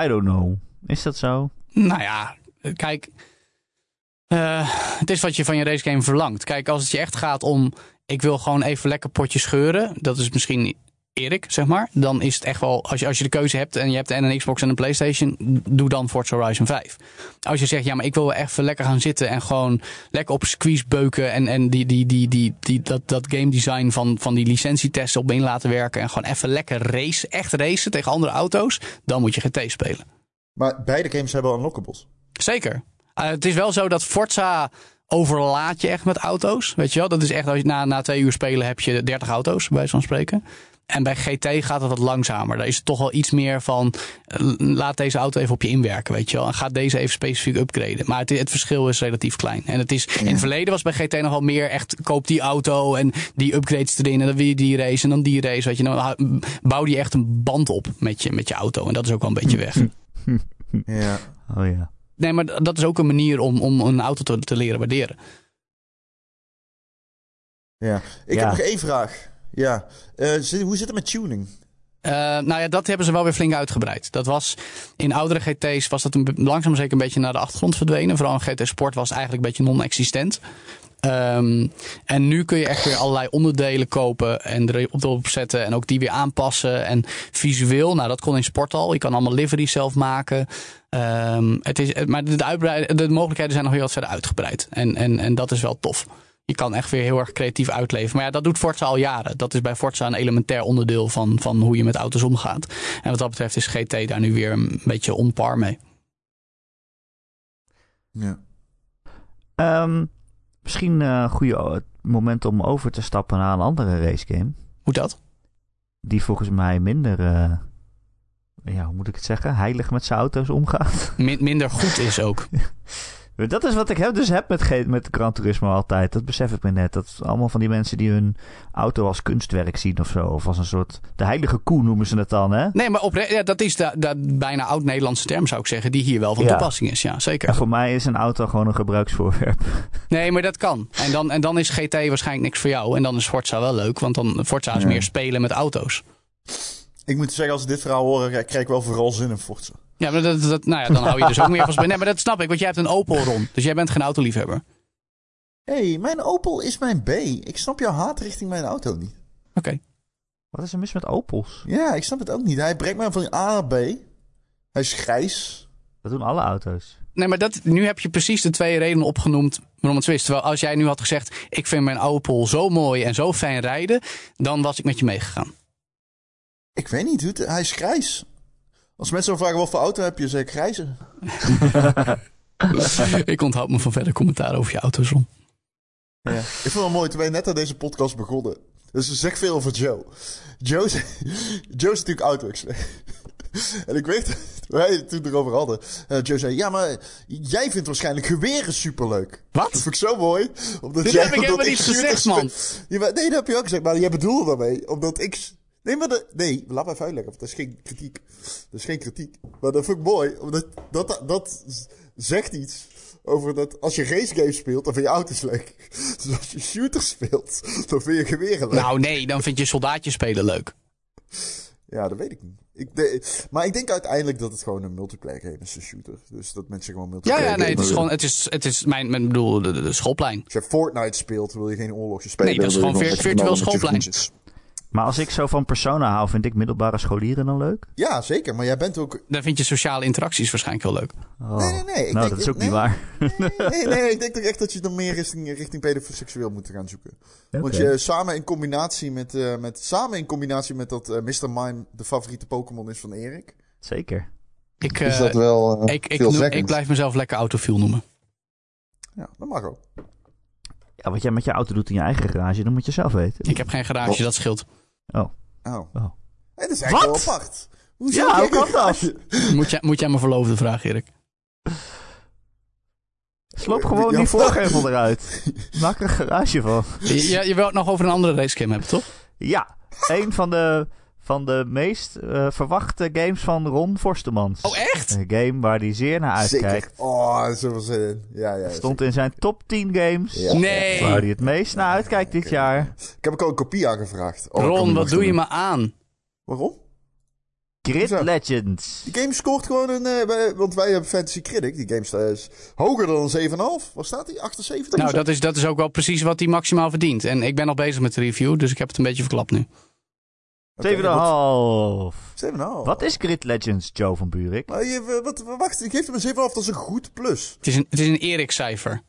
Speaker 1: I don't know. Is dat zo?
Speaker 3: Nou ja, kijk. eh, het is wat je van je racegame verlangt. Kijk, als het je echt gaat om. Ik wil gewoon even lekker potje scheuren. Dat is misschien Erik, zeg maar, dan is het echt wel, als je, als je de keuze hebt en je hebt en een Xbox en een PlayStation, doe dan Forza Horizon 5. Als je zegt, ja, maar ik wil wel echt even lekker gaan zitten en gewoon lekker op squeeze beuken en, en die, die, die, die, die, dat, dat game design van, van die licentietesten op in laten werken en gewoon even lekker race, echt racen tegen andere auto's, dan moet je GT spelen.
Speaker 2: Maar beide games hebben unlockables.
Speaker 3: Zeker. Eh, het is wel zo dat Forza overlaat je echt met auto's. Weet je wel, dat is echt als je na, na twee uur spelen heb je 30 auto's, bij wijze van spreken. En bij GT gaat het wat langzamer. Daar is het toch wel iets meer van. eh, Laat deze auto even op je inwerken, weet je wel. En ga deze even specifiek upgraden. Maar het, het verschil is relatief klein. En het is, in het verleden was bij GT nog wel meer echt. Koop die auto en die upgrades erin. En dan weer die race en dan die race. Weet je, dan hou- bouw die echt een band op met je, met je auto. En dat is ook wel een
Speaker 1: Mm.
Speaker 3: beetje weg.
Speaker 2: Ja.
Speaker 1: Oh ja.
Speaker 3: Nee, maar d- dat is ook een manier om, om een auto te, te leren waarderen.
Speaker 2: ja. Ik
Speaker 1: Ja.
Speaker 2: heb nog één vraag. Ja. Eh, zit- hoe zit het met tuning?
Speaker 3: Eh, nou ja, dat hebben ze wel weer flink uitgebreid. Dat was in oudere GT's was dat een, be- langzaam zeker een beetje naar de achtergrond verdwenen. Vooral in GT Sport was het eigenlijk een beetje non-existent. Ehm, en nu kun je echt weer allerlei onderdelen kopen en erop zetten en ook die weer aanpassen. En visueel, nou dat kon in sport al. Je kan allemaal livery zelf maken. Ehm, het is, het- maar de, uitbreid- de mogelijkheden zijn nog heel wat verder uitgebreid. En, en, en dat is wel tof. Je kan echt weer heel erg creatief uitleven. Maar ja, dat doet Forza al jaren. Dat is bij Forza een elementair onderdeel van, van hoe je met auto's omgaat. En wat dat betreft is GT daar nu weer een beetje on par mee.
Speaker 2: Ja.
Speaker 1: Ehm, misschien eh, een goede o- het moment om over te stappen naar een andere racegame.
Speaker 3: Hoe dat?
Speaker 1: Die volgens mij minder, eh, ja, hoe moet ik het zeggen, heilig met zijn auto's omgaat.
Speaker 3: Min- minder goed is ook.
Speaker 1: Dat is wat ik heb, dus heb met, ge- met Gran Turismo altijd. Dat besef ik me net. Dat is allemaal van die mensen die hun auto als kunstwerk zien of zo. Of als een soort, de heilige koe noemen ze het dan, hè?
Speaker 3: Nee, maar opre- ja, dat is de, de bijna oud-Nederlandse term zou ik zeggen. Die hier wel van
Speaker 1: Ja.
Speaker 3: toepassing is. Ja, zeker.
Speaker 1: Ja, voor mij is een auto gewoon een gebruiksvoorwerp.
Speaker 3: Nee, maar dat kan. En dan, en dan is GT waarschijnlijk niks voor jou. En dan is Forza wel leuk. Want dan Forza is
Speaker 2: Ja.
Speaker 3: meer spelen met auto's.
Speaker 2: Ik moet zeggen, als ik dit verhaal hoor, eh, krijg ik wel vooral zin in Forza.
Speaker 3: Ja, maar dat, dat, nou ja, dan hou je dus ook meer van spelen. Nee, maar dat snap ik. Want jij hebt een Opel rond. Dus jij bent geen autoliefhebber.
Speaker 2: Hé, hey, mijn Opel is mijn B. Ik snap jouw haat richting mijn auto niet.
Speaker 3: Oké.
Speaker 1: Wat is er mis met Opels?
Speaker 2: Ja, ik snap het ook niet. Hij brengt mij van A naar B. Hij is grijs.
Speaker 1: Dat doen alle auto's.
Speaker 3: Nee, maar dat, nu heb je precies de twee redenen opgenoemd waarom het zo is. Terwijl als jij nu had gezegd, ik vind mijn Opel zo mooi en zo fijn rijden, dan was ik met je meegegaan.
Speaker 2: Ik weet niet, dude. Hij is grijs. Als mensen me vragen wat voor auto heb je, zeg ik grijze.
Speaker 3: ik onthoud me van verder commentaar over je auto's om.
Speaker 2: Ja. Ik vind het wel mooi, toen wij net aan deze podcast begonnen. Dus ze zegt veel over Joe. Joe is, Joe is natuurlijk auto-expert. En ik weet, toen wij het toen erover hadden. eh, Joe zei, ja, maar jij vindt waarschijnlijk geweren superleuk.
Speaker 3: Wat?
Speaker 2: Dat vind ik zo mooi. Omdat
Speaker 3: Dit
Speaker 2: jij,
Speaker 3: heb ik
Speaker 2: omdat
Speaker 3: helemaal niet
Speaker 2: shooters
Speaker 3: gezegd, man.
Speaker 2: vind- Ja, maar- nee, dat heb je ook gezegd, maar jij bedoelde daarmee. Omdat ik... Nee, maar dat- nee, laat me even uitleggen, want dat is geen kritiek. Dat is geen kritiek. Maar dat vind ik mooi, omdat dat, dat, dat z- zegt iets over dat als je racegames speelt, dan vind je auto's leuk. Dus als je shooters speelt, dan vind je geweren leuk.
Speaker 3: Nou nee, dan vind je soldaatjes spelen leuk.
Speaker 2: Ja, dat weet ik niet. Ik de- maar ik denk uiteindelijk dat het gewoon een multiplayer game is, een shooter. Dus dat mensen gewoon
Speaker 3: Ja,
Speaker 2: multiplayer
Speaker 3: ja, nee, het is
Speaker 2: gamen
Speaker 3: gewoon,
Speaker 2: willen.
Speaker 3: het is, het is mijn, mijn bedoel, de, de- de schoolplein.
Speaker 2: Als je Fortnite speelt, wil je geen oorlogjes spelen.
Speaker 3: Nee, dat is
Speaker 2: wil je
Speaker 3: gewoon
Speaker 2: lekker
Speaker 3: virtueel
Speaker 2: knallen met je
Speaker 3: schoolplein.
Speaker 2: vriendjes.
Speaker 1: Maar als ik zo van persona hou, vind ik middelbare scholieren dan leuk?
Speaker 2: Ja, zeker. Maar jij bent ook
Speaker 3: Dan vind je sociale interacties waarschijnlijk heel leuk.
Speaker 1: Oh.
Speaker 2: Nee, nee, nee, ik
Speaker 1: nou,
Speaker 2: denk-
Speaker 1: dat is ook
Speaker 2: nee.
Speaker 1: niet waar.
Speaker 2: nee, nee, ik denk toch echt dat je dan meer richting, richting pedoseksueel moet gaan zoeken. Want
Speaker 1: Oké.
Speaker 2: je samen in combinatie met, eh, met, samen in combinatie met dat eh, Mr. Mime de favoriete Pokémon is van Erik.
Speaker 1: Zeker.
Speaker 3: Ik,
Speaker 2: is
Speaker 3: eh,
Speaker 2: dat wel eh,
Speaker 3: ik, ik, noem-
Speaker 2: veelzeggend.
Speaker 3: ik blijf mezelf lekker autofiel noemen.
Speaker 2: Ja, dat mag ook.
Speaker 1: Ja, wat jij met je auto doet in je eigen garage, dat moet je zelf weten.
Speaker 3: Ik heb geen garage, dat scheelt.
Speaker 2: Oh.
Speaker 1: Oh.
Speaker 2: Hey, dat is eigenlijk
Speaker 1: Wat?
Speaker 2: wel apart. Hoe
Speaker 1: Ja, hoe kan dat?
Speaker 3: Moet jij, moet jij me verloofde vragen, Erik?
Speaker 1: Sloop gewoon
Speaker 2: Ja.
Speaker 1: die voorgevel eruit. Maak er een garage van.
Speaker 3: Je, je, je wil het nog over een andere racegame hebben, toch?
Speaker 1: Ja, een van de, van de meest eh, verwachte games van Ron Forstemans.
Speaker 3: Oh, echt?
Speaker 1: Een game waar hij zeer naar uitkijkt.
Speaker 2: Zeker. Oh, dat is er wel zin in. Ja, ja.
Speaker 1: Stond in zijn top 10 games.
Speaker 2: Ja.
Speaker 3: Nee.
Speaker 1: Waar hij het meest naar uitkijkt dit jaar.
Speaker 2: Ik heb ook al een kopie aangevraagd. Oh, ik kan
Speaker 3: Ron,
Speaker 2: niet
Speaker 3: wat doe je
Speaker 2: wachten.
Speaker 3: me aan?
Speaker 2: Waarom?
Speaker 1: Grid
Speaker 2: Zo.
Speaker 1: Legends.
Speaker 2: Die game scoort gewoon een... eh, wij- want wij hebben Fantasy Critic. Die game staat- is hoger dan een 7,5. Wat staat die? 78?
Speaker 3: Nou, dat is, dat is ook wel precies wat hij maximaal verdient. En ik ben nog bezig met de review, dus ik heb het een beetje verklapt nu.
Speaker 2: Oké,
Speaker 1: 7,5.
Speaker 2: wat- 7,5.
Speaker 1: Wat is Grid Legends, Joe van Buurik?
Speaker 2: Maar Nou, je, w- wat, wacht, je geeft hem een 7,5, dat is een goed plus.
Speaker 3: Het is een, het is een Erik-cijfer.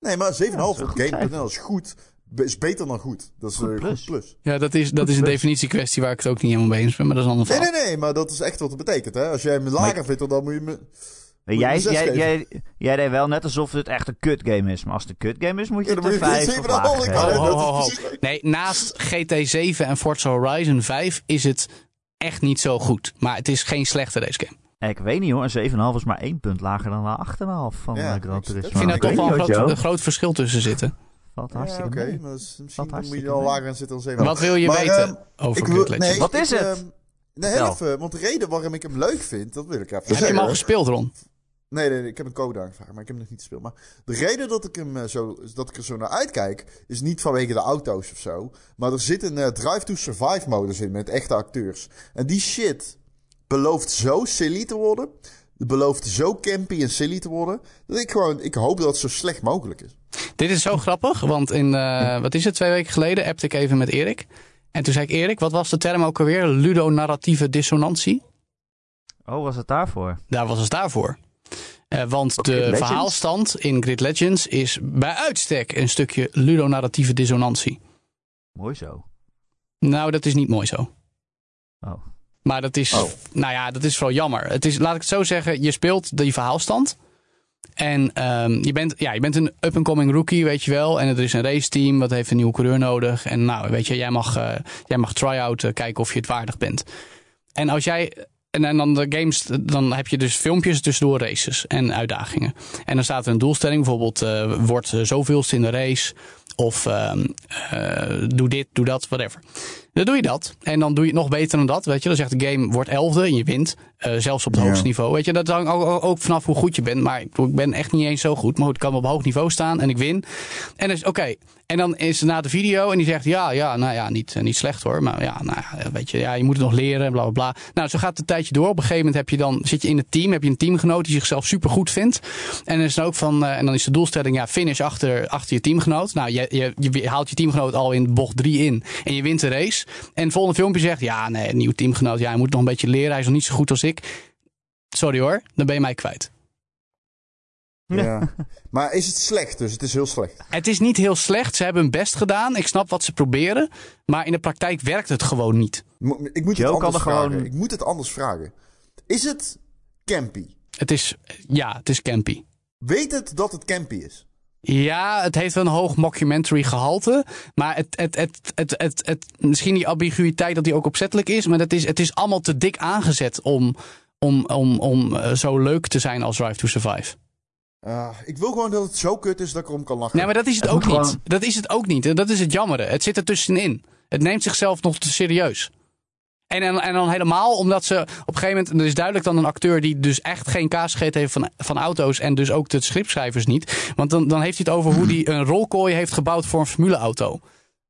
Speaker 2: Nee, maar 7,5
Speaker 1: Ja, dat
Speaker 2: op
Speaker 1: is een goed
Speaker 2: game.nl is goed. Be- Is beter dan goed. Dat is
Speaker 1: Goed
Speaker 2: een
Speaker 1: plus.
Speaker 2: goed plus.
Speaker 3: Ja, dat is, dat is een
Speaker 1: Best.
Speaker 3: definitiekwestie waar ik het ook niet helemaal mee eens ben, maar dat is een ander
Speaker 2: Nee,
Speaker 3: verhaal.
Speaker 2: nee, nee, maar dat is echt wat het betekent. Hè? Als jij hem lager vindt, dan moet je me.
Speaker 1: Nee,
Speaker 2: Moet je
Speaker 1: Jij,
Speaker 2: een zes
Speaker 1: jij,
Speaker 2: geven?
Speaker 1: jij, jij deed wel net alsof het echt een kutgame is. Maar als het een kutgame is, moet je
Speaker 2: Ja,
Speaker 1: het
Speaker 2: dan
Speaker 1: een
Speaker 2: moet je het
Speaker 1: 5 of
Speaker 2: zeven en een half
Speaker 1: lager
Speaker 2: krijgen.
Speaker 1: geven.
Speaker 3: Ho, ho, ho, ho.
Speaker 2: dat is-
Speaker 3: Nee, naast GT7 en Forza Horizon 5 is het echt niet zo goed. Maar het is geen slechte race game.
Speaker 1: En Ik weet niet hoor, een 7,5 is maar één punt lager dan een 8,5 van
Speaker 2: Ja,
Speaker 1: eh, Gran
Speaker 2: ik-
Speaker 1: Turismo.
Speaker 2: ik
Speaker 3: Ik vind daar
Speaker 2: ik
Speaker 3: toch
Speaker 2: weet
Speaker 3: wel een
Speaker 1: niet,
Speaker 3: groot,
Speaker 1: hoor,
Speaker 3: een
Speaker 1: Joe.
Speaker 3: groot verschil tussen zitten.
Speaker 1: Valt
Speaker 2: Ja,
Speaker 1: hartstikke
Speaker 2: oké,
Speaker 1: mee.
Speaker 2: maar dat is- misschien
Speaker 1: Valt
Speaker 2: moet
Speaker 1: hartstikke
Speaker 2: je al
Speaker 1: mee.
Speaker 2: lager in zitten dan 7,5.
Speaker 3: Wat wil je
Speaker 2: Maar,
Speaker 3: weten
Speaker 2: ehm,
Speaker 3: over
Speaker 2: Ik wil-
Speaker 3: Grid Legends?
Speaker 2: nee,
Speaker 1: Wat
Speaker 2: ik,
Speaker 1: is het?
Speaker 2: ehm, nee,
Speaker 1: Vertel.
Speaker 2: even, want de reden waarom ik hem leuk vind, dat wil ik even
Speaker 3: Heb je hem al
Speaker 2: zeggen.
Speaker 3: gespeeld, Ron?
Speaker 2: Nee, nee, nee, ik heb een code aangevraagd, maar ik heb hem nog niet gespeeld. Maar de reden dat ik, hem eh, zo, dat ik er zo naar uitkijk, is niet vanwege de auto's of zo. Maar er zit een eh, Drive to Survive modus in met echte acteurs. En die shit belooft zo silly te worden. Belooft zo campy en silly te worden. Dat ik gewoon, ik hoop dat het zo slecht mogelijk is.
Speaker 3: Dit is zo grappig, want in, eh, wat is het, twee weken geleden appte ik even met Erik. En toen zei ik, Erik, wat was de term ook alweer? Ludonarratieve dissonantie?
Speaker 1: Oh, was het daarvoor?
Speaker 3: Daar was het daarvoor. Eh, want de
Speaker 1: Legends?
Speaker 3: verhaalstand in Grid Legends is bij uitstek een stukje ludonarratieve dissonantie.
Speaker 1: Mooi zo.
Speaker 3: Nou, dat is niet mooi zo.
Speaker 1: Oh.
Speaker 3: Maar dat is,
Speaker 2: Oh.
Speaker 3: nou ja, dat is vooral jammer. Het is, laat ik het zo zeggen, je speelt die verhaalstand. En ehm, je, bent, ja, je bent een up-and-coming rookie, weet je wel. En er is een raceteam, wat heeft een nieuwe coureur nodig. En nou, weet je, jij mag, eh, jij mag try-outen, kijken of je het waardig bent. En als jij. En, en dan de games, dan heb je dus filmpjes tussendoor races en uitdagingen. En dan staat er een doelstelling, bijvoorbeeld eh wordt zoveelste in de race. Of ehm, eh, doe dit, doe dat, whatever. Dan doe je dat. En dan doe je het nog beter dan dat. Weet je, dan zegt de game wordt elfde en je wint. Eh, zelfs op het
Speaker 2: Ja.
Speaker 3: hoogste niveau. Weet je, dat hangt ook, ook- ook vanaf hoe goed je bent. Maar ik, bedoel, ik ben echt niet eens zo goed. Maar goed, ik kan op hoog niveau staan en ik win. En dus, oké. En dan is na de video en die zegt, ja, ja, nou ja, niet, eh, niet slecht hoor. Maar ja, nou ja, weet je, ja, je moet het nog leren, bla, bla, bla. Nou, zo gaat het een tijdje door. Op een gegeven moment heb je dan, zit je in het team, heb je een teamgenoot die zichzelf supergoed vindt. En, er is dan ook van, eh, en dan is de doelstelling, ja, finish achter, achter je teamgenoot. Nou, je, je, je haalt je teamgenoot al in bocht 3 in en je wint de race. En het volgende filmpje zegt, ja, nee, nieuw teamgenoot, ja, hij moet nog een beetje leren. Hij is nog niet zo goed als ik. Sorry hoor, dan ben je mij kwijt.
Speaker 1: Ja.
Speaker 2: maar is het slecht? Dus het is heel slecht.
Speaker 3: Het is niet heel slecht. Ze hebben hun best gedaan. Ik snap wat ze proberen. Maar in de praktijk werkt het gewoon niet.
Speaker 2: Mo- Ik moet
Speaker 1: Joe
Speaker 2: het
Speaker 1: kan
Speaker 2: anders
Speaker 1: er
Speaker 2: vragen.
Speaker 1: gewoon-
Speaker 2: Ik moet het anders vragen. Is het campy?
Speaker 3: Het is, ja, het is campy.
Speaker 2: Weet het dat het campy is?
Speaker 3: Ja, het heeft wel een hoog mockumentary gehalte. Maar het, het, het, het, het, het, misschien die ambiguïteit dat die ook opzettelijk is. Maar het is, het is allemaal te dik aangezet om, om, om, om eh, zo leuk te zijn als Drive to Survive.
Speaker 2: Ah, ik wil gewoon dat het zo kut is dat ik erom kan lachen.
Speaker 3: Nee, maar dat is het,
Speaker 1: Het
Speaker 3: ook niet.
Speaker 1: moet gewoon-
Speaker 3: Dat is het ook niet. En Dat is het jammere. Het zit er tussenin. Het neemt zichzelf nog te serieus. En, en, en dan helemaal omdat ze op een gegeven moment. Er is duidelijk dan een acteur die dus echt geen kaas gegeten heeft van, van auto's. En dus ook de scriptschrijvers niet. Want dan, dan heeft hij het over hoe hij een rolkooi heeft gebouwd voor een formuleauto.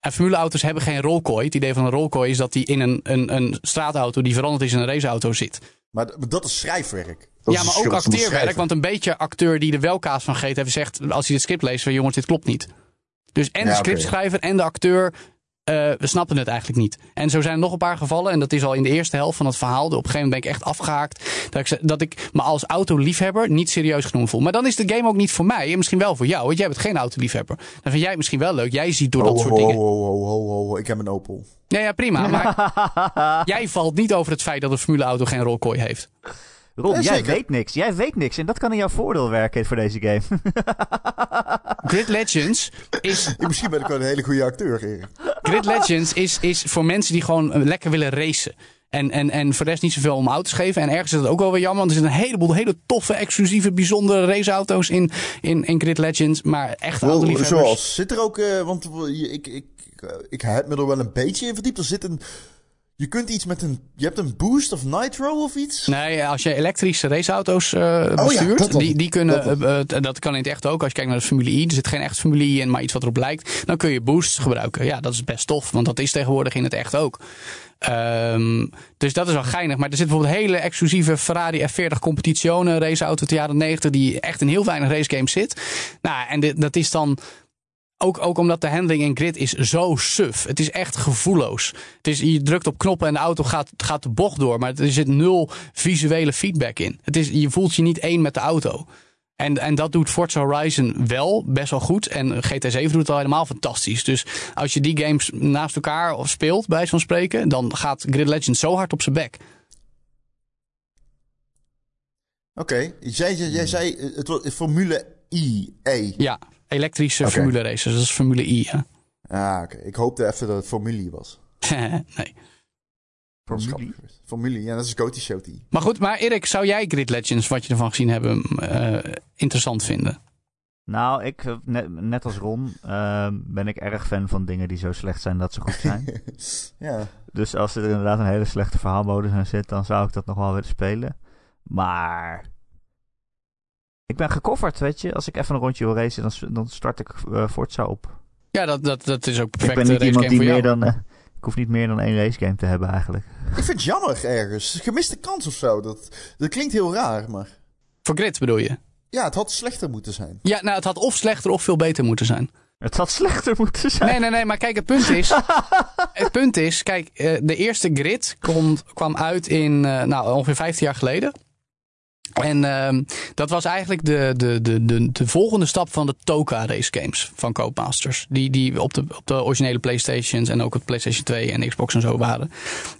Speaker 3: En formuleauto's hebben geen rolkooi. Het idee van een rolkooi is dat die in een, een, een straatauto die veranderd is in een raceauto zit.
Speaker 2: Maar d- maar dat is schrijfwerk. Dat
Speaker 3: ja,
Speaker 2: is
Speaker 3: maar
Speaker 2: een schuld
Speaker 3: ook
Speaker 2: van de
Speaker 3: acteerwerk.
Speaker 2: schrijver.
Speaker 3: Want een beetje acteur die er wel kaas van geeft, heeft zegt als hij dit script leest van jongens, dit klopt niet. Dus en
Speaker 2: Ja, oké.
Speaker 3: de scriptschrijver en de acteur eh, we snappen het eigenlijk niet. En zo zijn er nog een paar gevallen. En dat is al in de eerste helft van het verhaal. Op een gegeven moment ben ik echt afgehaakt. Dat ik, ze- dat ik me als autoliefhebber niet serieus genoemd voel. Maar dan is de game ook niet voor mij. En misschien wel voor jou. Want jij bent geen autoliefhebber. Dan vind jij het misschien wel leuk. Jij ziet door dat
Speaker 2: Ho,
Speaker 3: soort
Speaker 2: ho,
Speaker 3: dingen.
Speaker 2: ho, ho, ho, ho, ho. oh, Ik heb een Opel.
Speaker 3: Ja, ja, prima. Maar jij valt niet over het feit dat een formuleauto geen rolkooi heeft.
Speaker 1: Ron,
Speaker 2: Ja,
Speaker 1: jij
Speaker 2: zeker.
Speaker 1: weet niks. Jij weet niks. En dat kan in jouw voordeel werken voor deze game.
Speaker 3: Grid Legends is
Speaker 2: Ik- Misschien ben ik wel een hele goede acteur, Erik.
Speaker 3: Grid Legends is, is voor mensen die gewoon eh, lekker willen racen. En, en, en voor de rest niet zoveel om auto's geven. En ergens is dat ook wel weer jammer. Want er zitten een heleboel hele toffe, exclusieve, bijzondere raceauto's in, in, in Grid Legends. Maar echt
Speaker 2: Wel,
Speaker 3: autoliefhebbers...
Speaker 2: Zoals, zit er ook... eh, want we- je- ik, ik, ik, eh, ik heb me er wel een beetje in verdiept. Er zit een... Je kunt iets met een... Je hebt een boost of nitro of iets?
Speaker 3: Nee, als je elektrische raceauto's eh, bestuurt,
Speaker 2: Oh dat dan.
Speaker 3: die, die kunnen,
Speaker 2: Dat
Speaker 3: dat, dat kan in het echt ook. Als je kijkt naar de Formule I, er zit geen echt Formule I in, maar iets wat erop lijkt, dan kun je boosts gebruiken. Ja, dat is best tof, want dat is tegenwoordig in het echt ook. Ehm, dus dat is wel geinig. Maar er zit bijvoorbeeld hele exclusieve Ferrari F40 Competizione raceauto uit de jaren 90, die echt in heel weinig racegames zit. Nou, en dit, dat is dan Ook, ook omdat de handling in grid is zo suf. Het is echt gevoelloos. Het is, je drukt op knoppen en de auto gaat, gaat de bocht door. Maar er zit nul visuele feedback in. Het is, je voelt je niet één met de auto. En, en dat doet Forza Horizon wel best wel goed. En GT 7 doet het al helemaal fantastisch. Dus als je die games naast elkaar of speelt, bij zo'n spreken, dan gaat Grid Legend zo hard op zijn bek.
Speaker 2: Oké, jij, jij, jij zei eh, het wordt Formule I. E.
Speaker 3: Ja, elektrische
Speaker 2: Oké.
Speaker 3: Formule races. Dat is Formule I. Hè?
Speaker 2: Ah, oké. Ik hoopte even dat het Formule I was.
Speaker 3: nee.
Speaker 2: Dat is
Speaker 1: Formule.
Speaker 2: grappig geweest. Formule I, ja, dat is Goatie Show T.
Speaker 3: Maar goed, maar Erik, zou jij Grid Legends, wat je ervan gezien hebt, eh, interessant vinden?
Speaker 1: Nou, ik, eh, net, net als Ron, eh, ben ik erg fan van dingen die zo slecht zijn dat ze goed zijn.
Speaker 2: ja.
Speaker 1: Dus als er inderdaad een hele slechte verhaalmodus aan zit, dan zou ik dat nog wel willen spelen. Maar. Ik ben gekofferd, weet je. Als ik even een rondje wil racen, dan, s- dan start ik eh, Forza op.
Speaker 3: Ja, dat, dat, dat is ook
Speaker 1: Ik
Speaker 3: perfect
Speaker 1: ben niet
Speaker 3: racegame
Speaker 1: iemand die
Speaker 3: voor jou.
Speaker 1: meer dan. eh, ik hoef niet meer dan één racegame te hebben eigenlijk.
Speaker 2: Ik vind het jammer ergens. Gemiste kans of zo. Dat, dat klinkt heel raar, maar...
Speaker 3: Voor Grid bedoel je?
Speaker 2: Ja, het had slechter moeten zijn.
Speaker 3: Ja, nou, het had of slechter of veel beter moeten zijn.
Speaker 1: Het had slechter moeten zijn.
Speaker 3: Nee, nee, nee, maar kijk, het punt is... het punt is, kijk, eh, de eerste grid kon, kwam uit in, eh, nou, ongeveer 15 jaar geleden. En ehm, dat was eigenlijk de, de, de, de, de volgende stap van de Toka race games van Codemasters. Die, die op, de, op de originele Playstations en ook op Playstation 2 en Xbox en zo waren.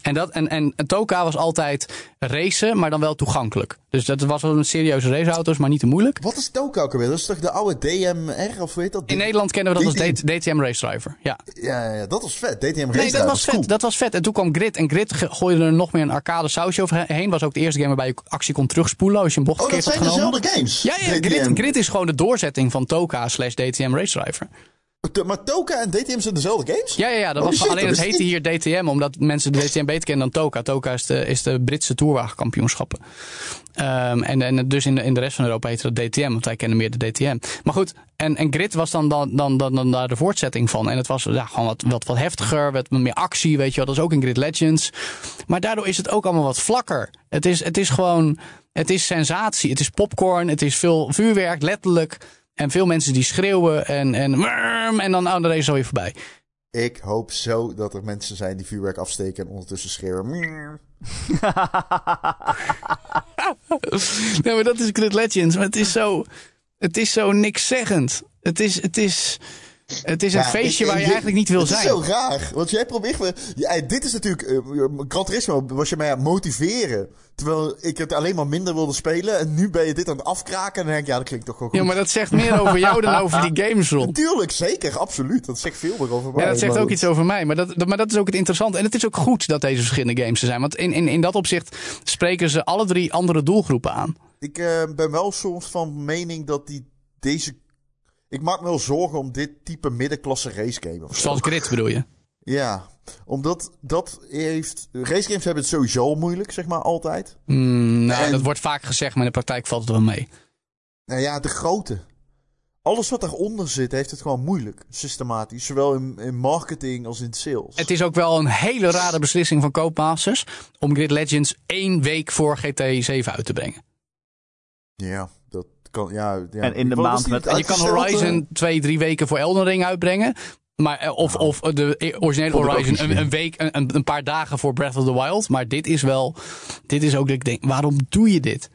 Speaker 3: En, dat, en, en Toka was altijd racen, maar dan wel toegankelijk. Dus dat was wel een serieuze raceauto's, maar niet te moeilijk.
Speaker 2: Wat is het ook elke weer? Dat is toch de oude DMR of hoe heet dat?
Speaker 3: In
Speaker 2: D-
Speaker 3: Nederland kennen we dat als
Speaker 2: DTM.
Speaker 3: D- DTM Race Driver, ja.
Speaker 2: Ja, ja, dat was vet. DTM Race
Speaker 3: Nee, dat was vet.
Speaker 2: cool. Oh,
Speaker 3: Dat was vet. En toen kwam Grid. En Grid ge- gooide er nog meer een arcade sausje overheen. Was ook de eerste game waarbij je actie kon terugspoelen als je een bocht
Speaker 2: Oh, dat
Speaker 3: verkeerd had
Speaker 2: zijn
Speaker 3: genomen.
Speaker 2: dezelfde games.
Speaker 3: Ja, ja
Speaker 2: DTM.
Speaker 3: Grid, Grid is gewoon de doorzetting van Toka slash DTM Race Driver.
Speaker 2: T- Maar Toka en DTM zijn dezelfde games?
Speaker 3: Ja, ja, ja. Dat
Speaker 2: Oh,
Speaker 3: was,
Speaker 2: shit,
Speaker 3: alleen
Speaker 2: dat
Speaker 3: het
Speaker 2: wist
Speaker 3: heette hier DTM, omdat mensen de DTM beter kennen dan Toka. Toka is de, is de Britse toerwagenkampioenschappen. Ehm, en, en dus in de, in de rest van Europa heette dat DTM, want wij kennen meer de DTM. Maar goed, en, en Grid was dan, dan, dan, dan, dan daar de voortzetting van. En het was ja, gewoon wat, wat, wat heftiger, wat meer actie, weet je wel. Dat is ook in Grid Legends. Maar daardoor is het ook allemaal wat vlakker. Het is, het is gewoon, het is sensatie. Het is popcorn, het is veel vuurwerk, letterlijk. En veel mensen die schreeuwen en, en, en dan oh, de race is alweer voorbij.
Speaker 2: Ik hoop zo dat er mensen zijn die vuurwerk afsteken en ondertussen schreeuwen. "Mmm."
Speaker 3: Nee, maar dat is Grid Legends. Maar het is zo, het is zo nikszeggend. Het is, het is, het is een
Speaker 2: Ja,
Speaker 3: feestje
Speaker 2: ik-
Speaker 3: waar je
Speaker 2: ik-
Speaker 3: eigenlijk niet wil
Speaker 2: het
Speaker 3: zijn.
Speaker 2: Het is zo raar. Want jij probeert me... ja, dit is natuurlijk... eh Gran Turismo was je mij aan het motiveren. Terwijl ik het alleen maar minder wilde spelen. En nu ben je dit aan het afkraken. En dan denk ik, ja, dat klinkt toch wel goed.
Speaker 3: Ja, maar dat zegt meer over jou dan over die games, Ron.
Speaker 2: Tuurlijk, zeker. Absoluut. Dat zegt veel meer over mij.
Speaker 3: Ja, dat zegt
Speaker 2: maar-
Speaker 3: ook iets over mij. Maar dat, dat- maar dat is ook het interessante. En het is ook goed dat deze verschillende games er zijn. Want in, in, in dat opzicht spreken ze alle drie andere doelgroepen aan.
Speaker 2: Ik eh, ben wel soms van mening dat die deze... Ik maak me wel zorgen om dit type middenklasse racegame. of zo.
Speaker 3: Zoals Grid bedoel je.
Speaker 2: Ja, omdat dat heeft... Racegames hebben het sowieso al moeilijk, zeg maar, altijd.
Speaker 3: Mm, nou,
Speaker 2: En-
Speaker 3: dat wordt vaak gezegd, maar in de praktijk valt het wel mee.
Speaker 2: Nou ja, de grote. Alles wat daaronder zit, heeft het gewoon moeilijk. Systematisch. Zowel in, in marketing als in sales.
Speaker 3: Het is ook wel een hele rare beslissing van Koopmasters om Grid Legends één week voor GT 7 uit te brengen.
Speaker 2: Ja, dat kan. Ja, ja.
Speaker 1: En in de
Speaker 2: Wel, dat
Speaker 1: maand
Speaker 2: is niet
Speaker 1: met-
Speaker 3: Je kan
Speaker 2: uitgesteld,
Speaker 3: Horizon
Speaker 2: eh.
Speaker 3: twee, drie weken voor Elden Ring uitbrengen. Maar, eh,
Speaker 2: Nou.
Speaker 3: of, of de originele
Speaker 2: Vond ik ook
Speaker 3: Horizon
Speaker 2: niet
Speaker 3: een,
Speaker 2: slim.
Speaker 3: een week, een, een- een paar dagen voor Breath of the Wild. Maar dit is wel, dit is ook dat ik denk, waarom doe je dit?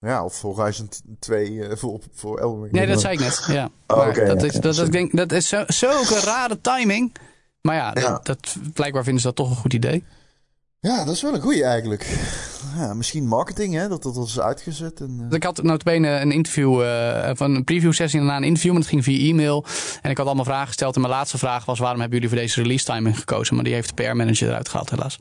Speaker 2: Ja, of Horizon t- 2 eh, voor, voor Elden Ring.
Speaker 3: Nee, dat zei ik net. Ja.
Speaker 2: Oh,
Speaker 3: Maar
Speaker 2: oké,
Speaker 3: dat,
Speaker 2: ja,
Speaker 3: is,
Speaker 2: ja,
Speaker 3: dat, dat,
Speaker 2: sorry.
Speaker 3: ik denk, dat is zo- zulke rare timing. Maar ja,
Speaker 2: Ja.
Speaker 3: Dat, dat, blijkbaar vinden ze dat toch een goed idee.
Speaker 2: Ja, dat is wel een goeie eigenlijk. Ja, misschien marketing, hè? Dat dat al is uitgezet. En, eh,
Speaker 3: Dus Ik had notabene een interview, eh, van een preview sessie en daarna een interview, maar dat ging via e-mail. En ik had allemaal vragen gesteld en mijn laatste vraag was, waarom hebben jullie voor deze release timing gekozen? Maar die heeft de PR-manager eruit gehaald helaas.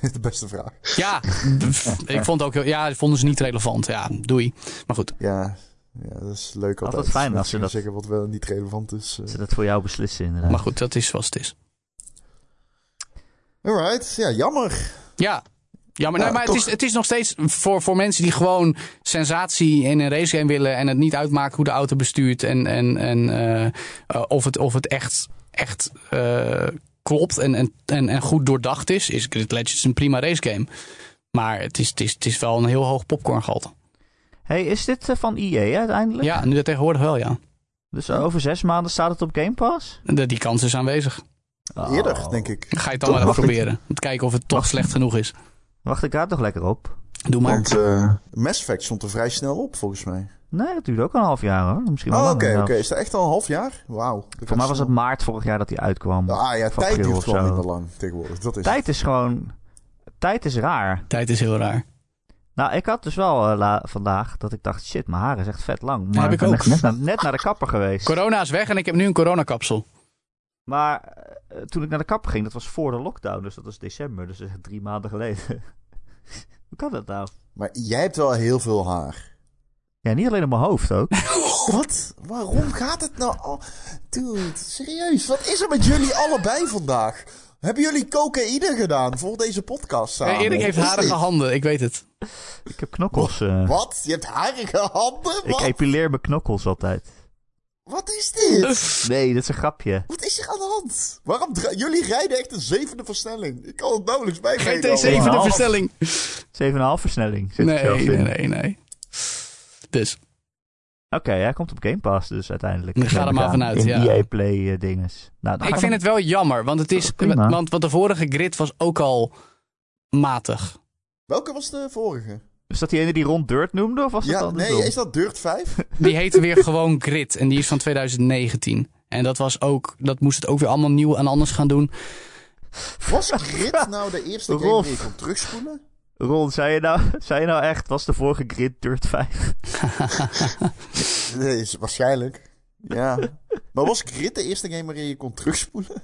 Speaker 2: eh, de beste vraag.
Speaker 3: Ja, pff, ik vond ook, heel- ja, dat vonden ze niet relevant. Ja, doei. Maar goed.
Speaker 2: Ja, ja dat is leuk altijd.
Speaker 1: Altijd fijn als
Speaker 2: Mensen
Speaker 1: je dat-
Speaker 2: zeggen wat wel niet relevant is. eh.
Speaker 1: Ze dat voor jou beslissen, inderdaad.
Speaker 3: Maar goed, dat is zoals het is.
Speaker 2: Alright, ja, jammer.
Speaker 3: Ja. Ja, maar,
Speaker 2: Ja,
Speaker 3: nee, maar het,
Speaker 2: Nou, toch.
Speaker 3: is, het is nog steeds voor, voor mensen die gewoon sensatie in een racegame willen. en het niet uitmaakt hoe de auto bestuurt. en, en, en eh, eh, of, het, of het echt, echt eh, klopt en, en, en, en goed doordacht is. is Grid Legends een prima racegame. Maar het is, het, is, het is wel een heel hoog popcorngehalte.
Speaker 1: hey, is dit eh, van EA uiteindelijk?
Speaker 3: Ja, nu dat tegenwoordig wel, ja.
Speaker 1: Dus over zes maanden staat het op Game Pass?
Speaker 3: De- Die kans is aanwezig.
Speaker 1: Oh.
Speaker 2: Eerder, denk ik.
Speaker 3: Ga je het dan
Speaker 2: Toch
Speaker 3: maar even
Speaker 2: nog niet.
Speaker 3: proberen. Om te kijken of het toch slecht genoeg is.
Speaker 1: Wacht ik daar toch lekker op?
Speaker 3: Doe maar.
Speaker 2: Want eh Mass Effect stond er vrij snel op, volgens mij.
Speaker 1: Nee, dat duurde ook al een half jaar hoor. Misschien wel
Speaker 2: Oh, oké,
Speaker 1: langer
Speaker 2: oké.
Speaker 1: zelfs.
Speaker 2: Is dat echt al een half jaar? Wauw. Dat
Speaker 1: Voor
Speaker 2: gaat
Speaker 1: mij was
Speaker 2: snel.
Speaker 1: het maart vorig jaar dat hij uitkwam.
Speaker 2: Ah ja,
Speaker 1: Of
Speaker 2: tijd
Speaker 1: april
Speaker 2: duurt
Speaker 1: of
Speaker 2: gewoon
Speaker 1: zo.
Speaker 2: minder lang tegenwoordig. Dat is
Speaker 1: Tijd is gewoon... Tijd is raar.
Speaker 3: Tijd is heel raar.
Speaker 1: Nou, ik had dus wel eh, la- vandaag dat ik dacht, shit, mijn haar is echt vet lang. Maar
Speaker 3: heb ik
Speaker 1: ben
Speaker 3: ook.
Speaker 1: echt Net, naar- net naar de kapper geweest.
Speaker 3: Corona is weg en ik heb nu een coronakapsel.
Speaker 1: Maar eh, toen ik naar de kapper ging, dat was voor de lockdown. Dus dat is december, dus dat is echt drie maanden geleden. Hoe kan dat nou?
Speaker 2: Maar jij hebt wel heel veel haar.
Speaker 1: Ja, niet alleen op mijn hoofd ook.
Speaker 2: Wat? Waarom gaat het nou al? Dude, serieus. Wat is er met jullie allebei vandaag? Hebben jullie cocaïne gedaan voor deze podcast samen?
Speaker 3: Eh, Erik heeft
Speaker 2: Wat is
Speaker 3: harige
Speaker 2: dit?
Speaker 3: handen, ik weet het.
Speaker 1: Ik heb knokkels. eh.
Speaker 2: Wat? Je hebt harige handen?
Speaker 1: ik
Speaker 2: Wat,
Speaker 1: epileer mijn knokkels altijd.
Speaker 2: Wat is dit?
Speaker 1: Nee, dat is een grapje.
Speaker 2: Wat is er aan de hand? Waarom dra- jullie rijden echt een zevende versnelling? Ik kan het nauwelijks bijbrengen.
Speaker 3: GT7 de
Speaker 1: half.
Speaker 3: verstelling.
Speaker 1: 7,5 versnelling. Zit er
Speaker 3: Nee,
Speaker 1: zelfs in.
Speaker 3: nee, nee, nee. Dus,
Speaker 1: Oké, hij komt op Game Pass dus uiteindelijk.
Speaker 3: Ik ga er maar
Speaker 1: Aan
Speaker 3: vanuit,
Speaker 1: in
Speaker 3: ja.
Speaker 1: EA Play eh, dinges. Nou, dan
Speaker 3: ik
Speaker 1: ga
Speaker 3: vind het wel jammer, want het is...
Speaker 1: Oh, prima.
Speaker 3: Want, want de vorige grid was ook al matig.
Speaker 2: Welke was de vorige?
Speaker 1: Is dat die ene die rond Dirt noemde? Of was dat
Speaker 2: Ja,
Speaker 1: andersom?
Speaker 2: nee, is dat Dirt 5?
Speaker 3: Die heette weer gewoon Grid en die is van 2019. En dat was ook... Dat moest het ook weer allemaal nieuw en anders gaan doen.
Speaker 2: Was Grid nou de eerste game
Speaker 1: Rolf.
Speaker 2: die je kon terugspoelen?
Speaker 1: Ron, zei je, nou, zei je nou echt, was de vorige grid Dirt 5?
Speaker 2: Nee, is waarschijnlijk. Ja. Maar was Grid de eerste game waarin je kon terugspoelen?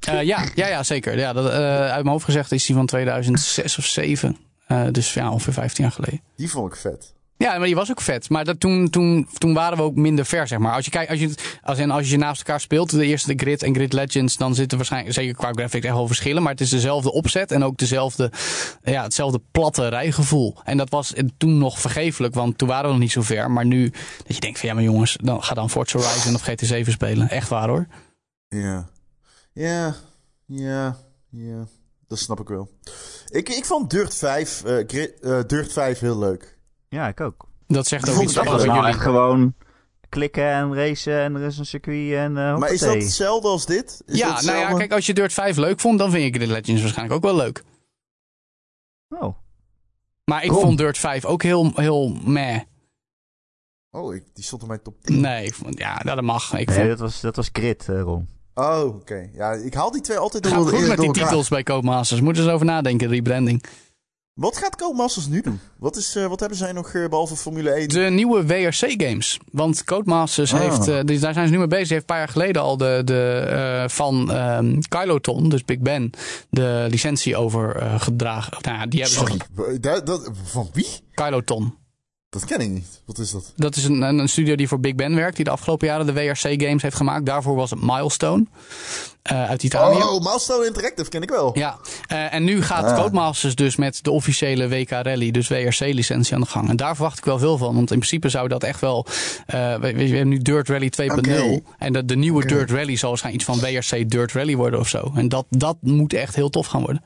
Speaker 3: Eh, ja, ja, ja, zeker. Ja, dat, eh, uit mijn hoofd gezegd is die van 2006 of 7. Eh, dus ja, ongeveer 15 jaar geleden.
Speaker 2: Die vond ik vet.
Speaker 3: Ja, maar die was ook vet. Maar dat, toen, toen, toen waren we ook minder ver, zeg maar. Als je, kijkt, als, je, het- als, in, als je ze naast elkaar speelt, de eerste de Grid en Grid Legends... dan zitten waarschijnlijk, zeker qua graphics, echt wel verschillen. Maar het is dezelfde opzet en ook dezelfde, ja, hetzelfde platte rijgevoel. En dat was toen nog vergeeflijk, want toen waren we nog niet zo ver. Maar nu, dat je denkt van ja, maar jongens, dan, ga dan Forza Horizon of GT7 spelen. Echt waar, hoor.
Speaker 2: Ja. Ja. Ja. Ja. Dat snap ik wel. Ik, ik vond Dirt 5, eh, Grid, eh, Dirt 5 heel leuk.
Speaker 1: Ja, ik ook.
Speaker 3: Dat zegt ook
Speaker 2: Vond
Speaker 3: iets
Speaker 2: ik
Speaker 1: Dat
Speaker 2: ook
Speaker 3: over
Speaker 1: was nou
Speaker 3: jullie.
Speaker 1: echt gewoon klikken en racen en er is een circuit en eh
Speaker 2: Maar is dat
Speaker 1: hoppatee.
Speaker 2: hetzelfde als dit? Is dat
Speaker 3: Ja, nou ja,
Speaker 2: hetzelfde?
Speaker 3: kijk, als je Dirt 5 leuk vond, dan vind je Grid Legends waarschijnlijk ook wel leuk.
Speaker 1: Oh,
Speaker 3: Maar ik
Speaker 2: Waarom?
Speaker 3: vond Dirt 5 ook heel, heel meh.
Speaker 2: Oh, ik, die stond in mijn top 10.
Speaker 3: Nee, ik vond, ja, dat mag. Ik
Speaker 1: nee,
Speaker 3: vond,
Speaker 1: dat was, dat was grid, eh, Ron.
Speaker 2: Oh, oké. Ja, ik haal die twee altijd
Speaker 3: het
Speaker 2: door,
Speaker 3: gaat goed
Speaker 2: door
Speaker 3: met die
Speaker 2: elkaar.
Speaker 3: titels bij Codemasters. Moeten ze over nadenken, rebranding.
Speaker 2: Wat gaat Codemasters nu doen? Wat, is, eh, wat hebben zij nog eh, behalve Formule 1?
Speaker 3: De nieuwe WRC-games. Want Codemasters
Speaker 2: Ah.
Speaker 3: heeft, eh, dus daar zijn ze nu mee bezig, heeft een paar jaar geleden al de, de, eh, van ehm Kyloton, dus Big Ben, de licentie overgedragen. nou ja, die hebben ze.
Speaker 2: Sorry, w- dat, dat- van wie?
Speaker 3: Kyloton.
Speaker 2: Dat ken ik niet. Wat is dat?
Speaker 3: Dat is een, een een studio die voor Big Ben werkt, die de afgelopen jaren de WRC-games heeft gemaakt. Daarvoor was het Milestone eh, uit Italië.
Speaker 2: Oh, Milestone Interactive ken ik wel.
Speaker 3: Ja, eh, en nu gaat
Speaker 2: Ah.
Speaker 3: Codemasters dus met de officiële WK Rally, dus WRC-licentie aan de gang. En daar verwacht ik wel veel van, want in principe zou dat echt wel... eh, we, we- we hebben nu Dirt Rally 2.0
Speaker 2: Oké.
Speaker 3: en de, de nieuwe
Speaker 2: Oké.
Speaker 3: Dirt Rally zal waarschijnlijk iets van WRC Dirt Rally worden of zo. En dat, dat moet echt heel tof gaan worden.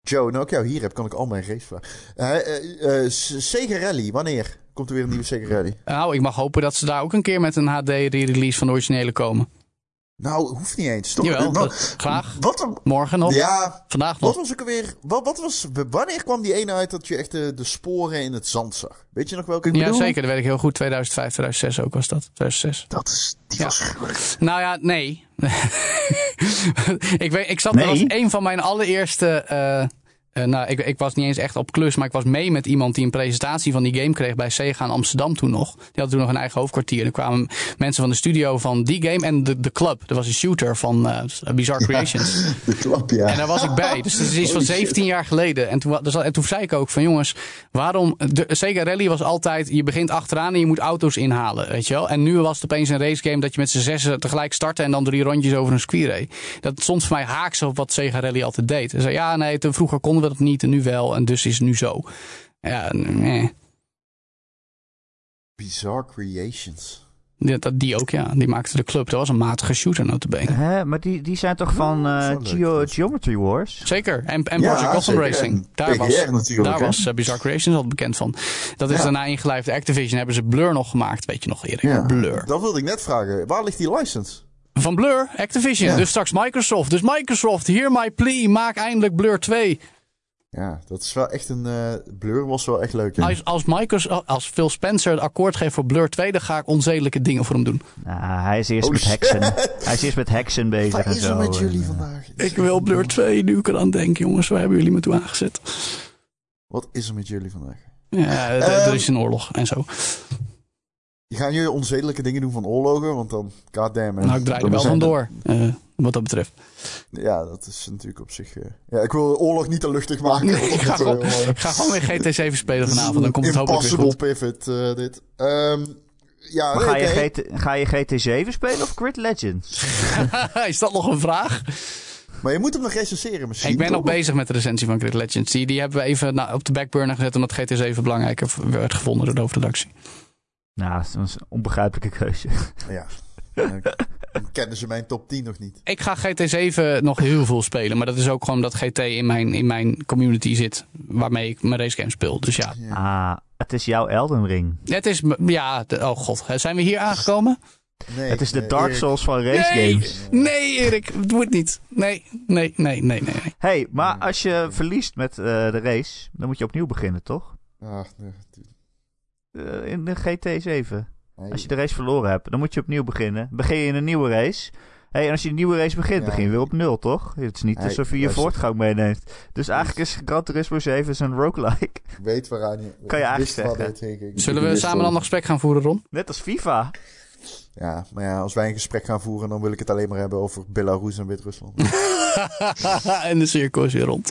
Speaker 2: Joe, nou ik jou hier heb, kan ik al mijn race vragen. Eh, eh, eh, S- Sega Rally, wanneer komt er weer een nieuwe Sega Rally?
Speaker 3: Nou, ik mag hopen dat ze daar ook een keer met een HD-release van de originele komen.
Speaker 2: Nou, hoeft niet eens. Toch?
Speaker 3: Jawel,
Speaker 2: Eh, nou,
Speaker 3: dat- graag.
Speaker 2: Wat, een-
Speaker 3: Morgen nog,
Speaker 2: ja,
Speaker 3: vandaag
Speaker 2: wat
Speaker 3: nog.
Speaker 2: was ook alweer... Wat, wat was, wanneer kwam die ene uit dat je echt de, de sporen in het zand zag? Weet je nog welke ik
Speaker 3: Ja,
Speaker 2: bedoel?
Speaker 3: zeker, dat weet ik heel goed. 2005, 2006 ook was dat. 2006.
Speaker 2: Dat is... Die
Speaker 3: Ja.
Speaker 2: was gruwelijk.
Speaker 3: Nou ja, nee. ik, weet, ik zat,
Speaker 1: Nee?
Speaker 3: dat was een van mijn allereerste... eh, eh, nou, ik, ik was niet eens echt op klus, maar ik was mee met iemand die een presentatie van die game kreeg bij Sega in Amsterdam toen nog. Die hadden toen nog een eigen hoofdkwartier. Er kwamen mensen van de studio van die game en de, de club. Er was een shooter van eh, Bizarre Creations.
Speaker 2: De klap, ja.
Speaker 3: En daar was ik bij. Dus dat is iets van 17 jaar geleden. En toen, wa- dus dat- en toen zei ik ook van jongens, waarom... De, Sega Rally was altijd, je begint achteraan en je moet auto's inhalen, weet je wel. En nu was het opeens een racegame dat je met z'n zessen tegelijk startte... en dan drie rondjes over een square reed. Dat stond voor mij haaks op wat Sega Rally altijd deed. Ze zei ja, nee, toen vroeger konden we dat niet en nu wel. En dus is het nu zo. Ja, nee.
Speaker 2: Bizarre Creations.
Speaker 3: Die, dat- die ook, ja. Die maakte de club. Dat was een matige shooter, notabene.
Speaker 1: Hè, maar die, die zijn toch van
Speaker 2: dat is
Speaker 1: eh,
Speaker 2: wel Oh, leuk,
Speaker 1: Geo-
Speaker 2: dat is-
Speaker 1: Geometry Wars?
Speaker 3: Zeker. En, en
Speaker 2: Ja,
Speaker 3: Project Gotham
Speaker 2: zeker.
Speaker 3: Racing.
Speaker 2: En
Speaker 3: Daar
Speaker 2: PGR
Speaker 3: was,
Speaker 2: natuurlijk,
Speaker 3: daar
Speaker 2: hè?
Speaker 3: was eh, Bizarre Creations al bekend van. Dat is
Speaker 2: Ja.
Speaker 3: daarna ingelijfd. Activision hebben ze Blur nog gemaakt. Weet je nog, Erik? Blur.
Speaker 2: Dat wilde ik net vragen. Waar ligt die license?
Speaker 3: Van Blur, Activision.
Speaker 2: Ja.
Speaker 3: Dus straks Microsoft. Dus Microsoft, hear my plea. Maak eindelijk Blur 2.
Speaker 2: Ja, dat is wel echt een... eh, Blur was wel echt leuk. hè?
Speaker 3: Als, als, Microsoft, als Phil Spencer het akkoord geeft voor Blur 2, dan ga ik onzedelijke dingen voor hem doen.
Speaker 1: Nou, hij is eerst
Speaker 2: Oh,
Speaker 1: met
Speaker 2: shit.
Speaker 1: heksen. Hij is eerst met heksen bezig
Speaker 2: Wat
Speaker 1: en
Speaker 2: is
Speaker 1: zo.
Speaker 2: er met jullie
Speaker 1: En, eh,
Speaker 2: vandaag?
Speaker 3: Ik wil Blur 2 nu ik aan denken, jongens. Waar hebben jullie me toe aangezet?
Speaker 2: Wat is er met jullie vandaag?
Speaker 3: Ja, d-
Speaker 2: Ehm.
Speaker 3: er is een oorlog en zo.
Speaker 2: Gaan jullie onzedelijke dingen doen van oorlogen? Want dan, goddamn. hè.
Speaker 3: Nou, ik draai er
Speaker 2: Dan
Speaker 3: wel
Speaker 2: zijn we-
Speaker 3: vandoor, eh, wat dat betreft.
Speaker 2: Ja, dat is natuurlijk op zich... eh, ja, ik wil oorlog niet te luchtig maken.
Speaker 3: Nee, ik ga
Speaker 2: Dat, eh,
Speaker 3: gewoon,
Speaker 2: eh,
Speaker 3: ik ga gewoon weer GT7 spelen
Speaker 2: dit is
Speaker 3: vanavond. Dan
Speaker 2: een
Speaker 3: komt het hopelijk weer goed.
Speaker 2: Impossible pivot, eh, dit. Ehm, ja,
Speaker 1: Maar
Speaker 2: nee,
Speaker 1: ga je,
Speaker 2: oké.
Speaker 1: GT, ga je GT7 spelen of Grid Legends?
Speaker 3: Is dat nog een vraag?
Speaker 2: Maar je moet hem nog recenseren misschien.
Speaker 3: ik ben nog
Speaker 2: toch?
Speaker 3: bezig met de recensie van Grid Legends. Die, die hebben we even nou, op de backburner gezet omdat GT7 belangrijker v- werd gevonden door de hoofdredactie.
Speaker 1: Nou, dat is een onbegrijpelijke keuze.
Speaker 2: Ja. Ja, Dan kennen ze mijn top 10 nog niet.
Speaker 3: Ik ga GT7 nog heel veel spelen. Maar dat is ook gewoon dat GT in mijn, in mijn community zit. Waarmee ik mijn racegames speel. Dus ja.
Speaker 2: Ja.
Speaker 1: Ah, het is jouw Elden Ring.
Speaker 3: Het is. m- Ja, de- oh god. Zijn we hier aangekomen?
Speaker 2: Nee,
Speaker 1: het is de
Speaker 2: nee,
Speaker 1: Dark
Speaker 2: Erik,
Speaker 1: Souls van race
Speaker 3: nee!
Speaker 1: games.
Speaker 3: Nee, Erik. Doe het niet. Nee, nee, nee, nee, nee. nee.
Speaker 1: hey, maar als je verliest met eh, de race, dan moet je opnieuw beginnen, toch?
Speaker 2: Ah, nee, die-
Speaker 1: Eh, in de GT7.
Speaker 2: nee.
Speaker 1: Als je de race verloren hebt, dan moet je opnieuw beginnen. Begin je in een nieuwe race. Hey, en als je een nieuwe race begint,
Speaker 2: Ja.
Speaker 1: begin je weer op nul, toch? Het is niet
Speaker 2: Hey,
Speaker 1: alsof je je
Speaker 2: luister.
Speaker 1: voortgang meeneemt. Dus eigenlijk is Gran Turismo 7 een roguelike.
Speaker 2: Ik weet waaraan je...
Speaker 1: Kan je
Speaker 2: ik
Speaker 1: eigenlijk
Speaker 2: wist waar
Speaker 1: zeggen.
Speaker 2: dit heen ging.
Speaker 3: Zullen
Speaker 2: Ik
Speaker 3: we
Speaker 2: wist
Speaker 3: samen
Speaker 2: wel-
Speaker 3: dan nog gesprek gaan voeren, Ron?
Speaker 1: Net als FIFA.
Speaker 2: Ja, maar ja, als wij een gesprek gaan voeren, dan wil ik het alleen maar hebben over Belarus en Wit-Rusland.
Speaker 3: en de cirkel is weer rond.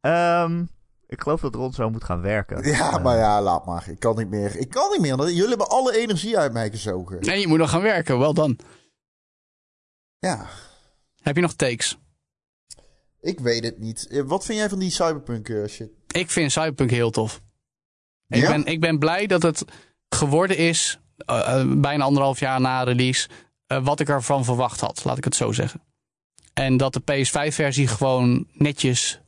Speaker 1: Ehm, ik geloof dat Ron zo moet gaan werken.
Speaker 2: ja,
Speaker 1: Eh,
Speaker 2: maar ja, laat maar. Ik kan niet meer. Ik kan niet meer. Jullie hebben alle energie uit mij gezogen.
Speaker 3: En je moet nog gaan werken, wel dan.
Speaker 2: Ja,
Speaker 3: Heb je nog takes?
Speaker 2: ik weet het niet. Eh, Wat vind jij van die cyberpunk eh, shit?
Speaker 3: Ik vind Cyberpunk heel tof. Ik,
Speaker 2: Ja?
Speaker 3: ben, ik ben blij dat het geworden is, eh, eh, bijna anderhalf jaar na release, eh, wat ik ervan verwacht had, laat ik het zo zeggen. En dat de PS5-versie gewoon netjes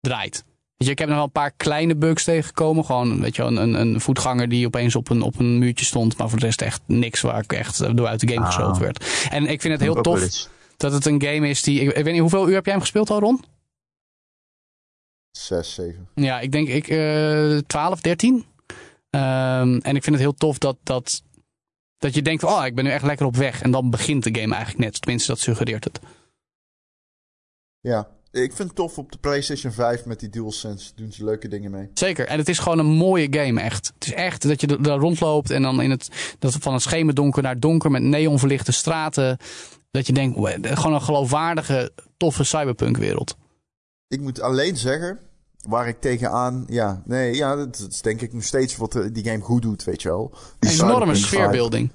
Speaker 3: draait. Weet je, ik heb nog wel een paar kleine bugs tegengekomen. Gewoon weet je, wel, een, een, een voetganger die opeens op een, op een muurtje stond. Maar voor de rest echt niks waar ik echt eh, door uit de game
Speaker 1: Ah.
Speaker 3: gesloten werd. En ik vind het heel
Speaker 1: ook wel
Speaker 3: tof
Speaker 1: eens.
Speaker 3: dat het een game is die... Ik, ik weet niet, hoeveel uur heb jij hem gespeeld al, Ron?
Speaker 2: 6, 7.
Speaker 3: Ja, ik denk ik, eh 12, 13. Ehm, en ik vind het heel tof dat, dat, dat je denkt, oh, ik ben nu echt lekker op weg. En dan begint de game eigenlijk net. Tenminste, dat suggereert het.
Speaker 2: Ja, ik vind het tof op de PlayStation 5 met die DualSense. Doen ze leuke dingen mee.
Speaker 3: Zeker. En het is gewoon een mooie game, echt. Het is echt dat je er- daar rondloopt en dan in het, dat van het schemerdonker naar het donker met neonverlichte straten. Dat je denkt, "Wow, gewoon een geloofwaardige, toffe cyberpunk-wereld.
Speaker 2: Ik moet alleen zeggen, waar ik tegenaan... Ja, nee, ja, dat is denk ik nog steeds wat eh, die game goed doet, weet je wel. Die
Speaker 3: Enorme
Speaker 2: cyberpunk vibe.
Speaker 3: sfeerbeelding.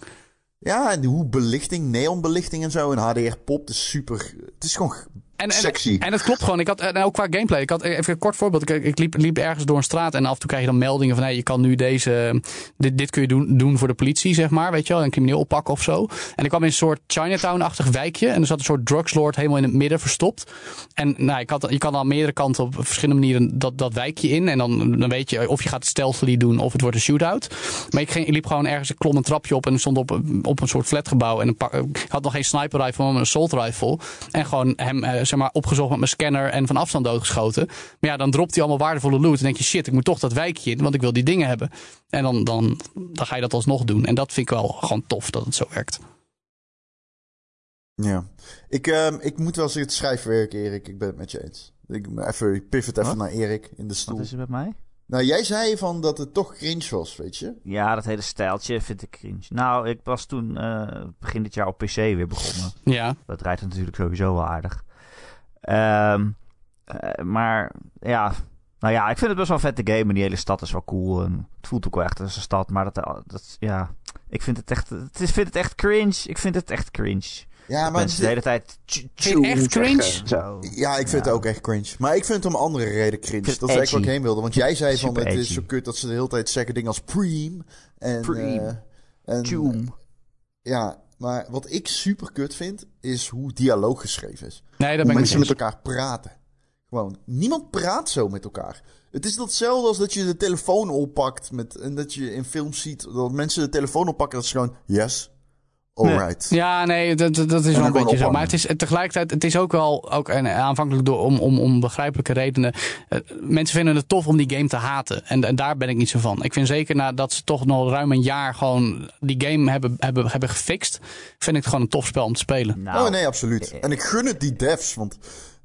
Speaker 2: Ja, en hoe belichting, neonbelichting en zo. En HDR-pop, dat is super... Het is gewoon...
Speaker 3: En, en,
Speaker 2: Sexy.
Speaker 3: En dat klopt gewoon. Ik had, en ook qua gameplay. Ik had even een kort voorbeeld. Ik, ik liep, liep ergens door een straat en af en toe krijg je dan meldingen van... Hey, je kan nu deze, ehm, dit, dit kun je doen, doen voor de politie, zeg maar. Weet je wel, een crimineel oppakken of zo. En ik kwam in een soort Chinatown-achtig wijkje. En er zat een soort drugslord helemaal in het midden verstopt. En nou, ik had, je kan aan meerdere kanten op verschillende manieren dat, dat wijkje in. En dan, dan weet je of je gaat het stealthily doen of het wordt een shootout. Maar ik, ging, ik liep gewoon ergens, ik klom een trapje op... en stond op, op een soort flatgebouw. En een pak- ik had nog geen sniper rifle, maar een assault rifle. En gewoon hem eh, zeg maar, opgezocht met mijn scanner en van afstand doodgeschoten. Maar ja, dan dropt hij allemaal waardevolle loot. En denk je, shit, ik moet toch dat wijkje in, want ik wil die dingen hebben. En dan, dan, dan ga je dat alsnog doen. En dat vind ik wel gewoon tof dat het zo werkt.
Speaker 2: Ja. Ik, ehm, ik moet wel zeggen, het schrijfwerk, Erik. Ik ben het met je eens. Ik, even, ik pivot even
Speaker 1: Wat?
Speaker 2: naar Erik in de
Speaker 1: Wat
Speaker 2: stoel.
Speaker 1: is er met mij?
Speaker 2: Nou, jij zei van dat het toch cringe was, weet je?
Speaker 1: Ja, dat hele stijltje vind ik cringe. Nou, ik was toen eh, begin dit jaar op PC weer begonnen.
Speaker 3: Ja,
Speaker 1: Dat draait natuurlijk sowieso wel aardig. Ehm, eh, maar ja, nou ja, ik vind het best wel een vette game. En die hele stad is wel cool. En het voelt ook wel echt als een stad. Maar dat, dat ja, ik vind het echt, het is, vind het echt cringe. Ik vind het echt cringe.
Speaker 2: Ja, maar
Speaker 1: Mensen de hele tijd... tch, tch,
Speaker 3: Vind je echt
Speaker 1: zeggen,
Speaker 3: cringe?
Speaker 1: Zo.
Speaker 2: ja, ik vind
Speaker 1: Ja.
Speaker 2: het ook echt cringe. Maar ik vind het om andere reden cringe.
Speaker 1: vind het
Speaker 2: Dat is eigenlijk
Speaker 1: edgy.
Speaker 2: wat ik heen wilde. Want jij zei van
Speaker 1: Super
Speaker 2: het is
Speaker 1: edgy.
Speaker 2: zo kut dat ze de hele tijd zeggen dingen als preem. En,
Speaker 1: Preem.
Speaker 2: eh, en, eh,
Speaker 1: Tjoem.
Speaker 2: Ja, maar wat ik super kut vind, is hoe dialoog geschreven is.
Speaker 3: Nee,
Speaker 2: Hoe
Speaker 3: dat ben ik niet
Speaker 2: mensen met
Speaker 3: eens.
Speaker 2: elkaar praten. Gewoon, niemand praat zo met elkaar. Het is datzelfde als dat je de telefoon oppakt met, en dat je in films ziet dat mensen de telefoon oppakken. Dat is gewoon, yes, alright.
Speaker 3: Ja, nee, dat, dat- dat is wel
Speaker 2: dan
Speaker 3: een
Speaker 2: gewoon
Speaker 3: beetje zo.
Speaker 2: ophangen.
Speaker 3: Maar het is eh, tegelijkertijd, het is ook wel, ook en eh, aanvankelijk door, om, om, om begrijpelijke redenen. eh, mensen vinden het tof om die game te haten. En, en daar ben ik niet zo van. Ik vind zeker nadat ze toch nog ruim een jaar gewoon die game hebben, hebben, hebben gefixt, vind ik het gewoon een tof spel om te spelen.
Speaker 1: Nou,
Speaker 2: oh nee, absoluut. En ik gun het die devs, want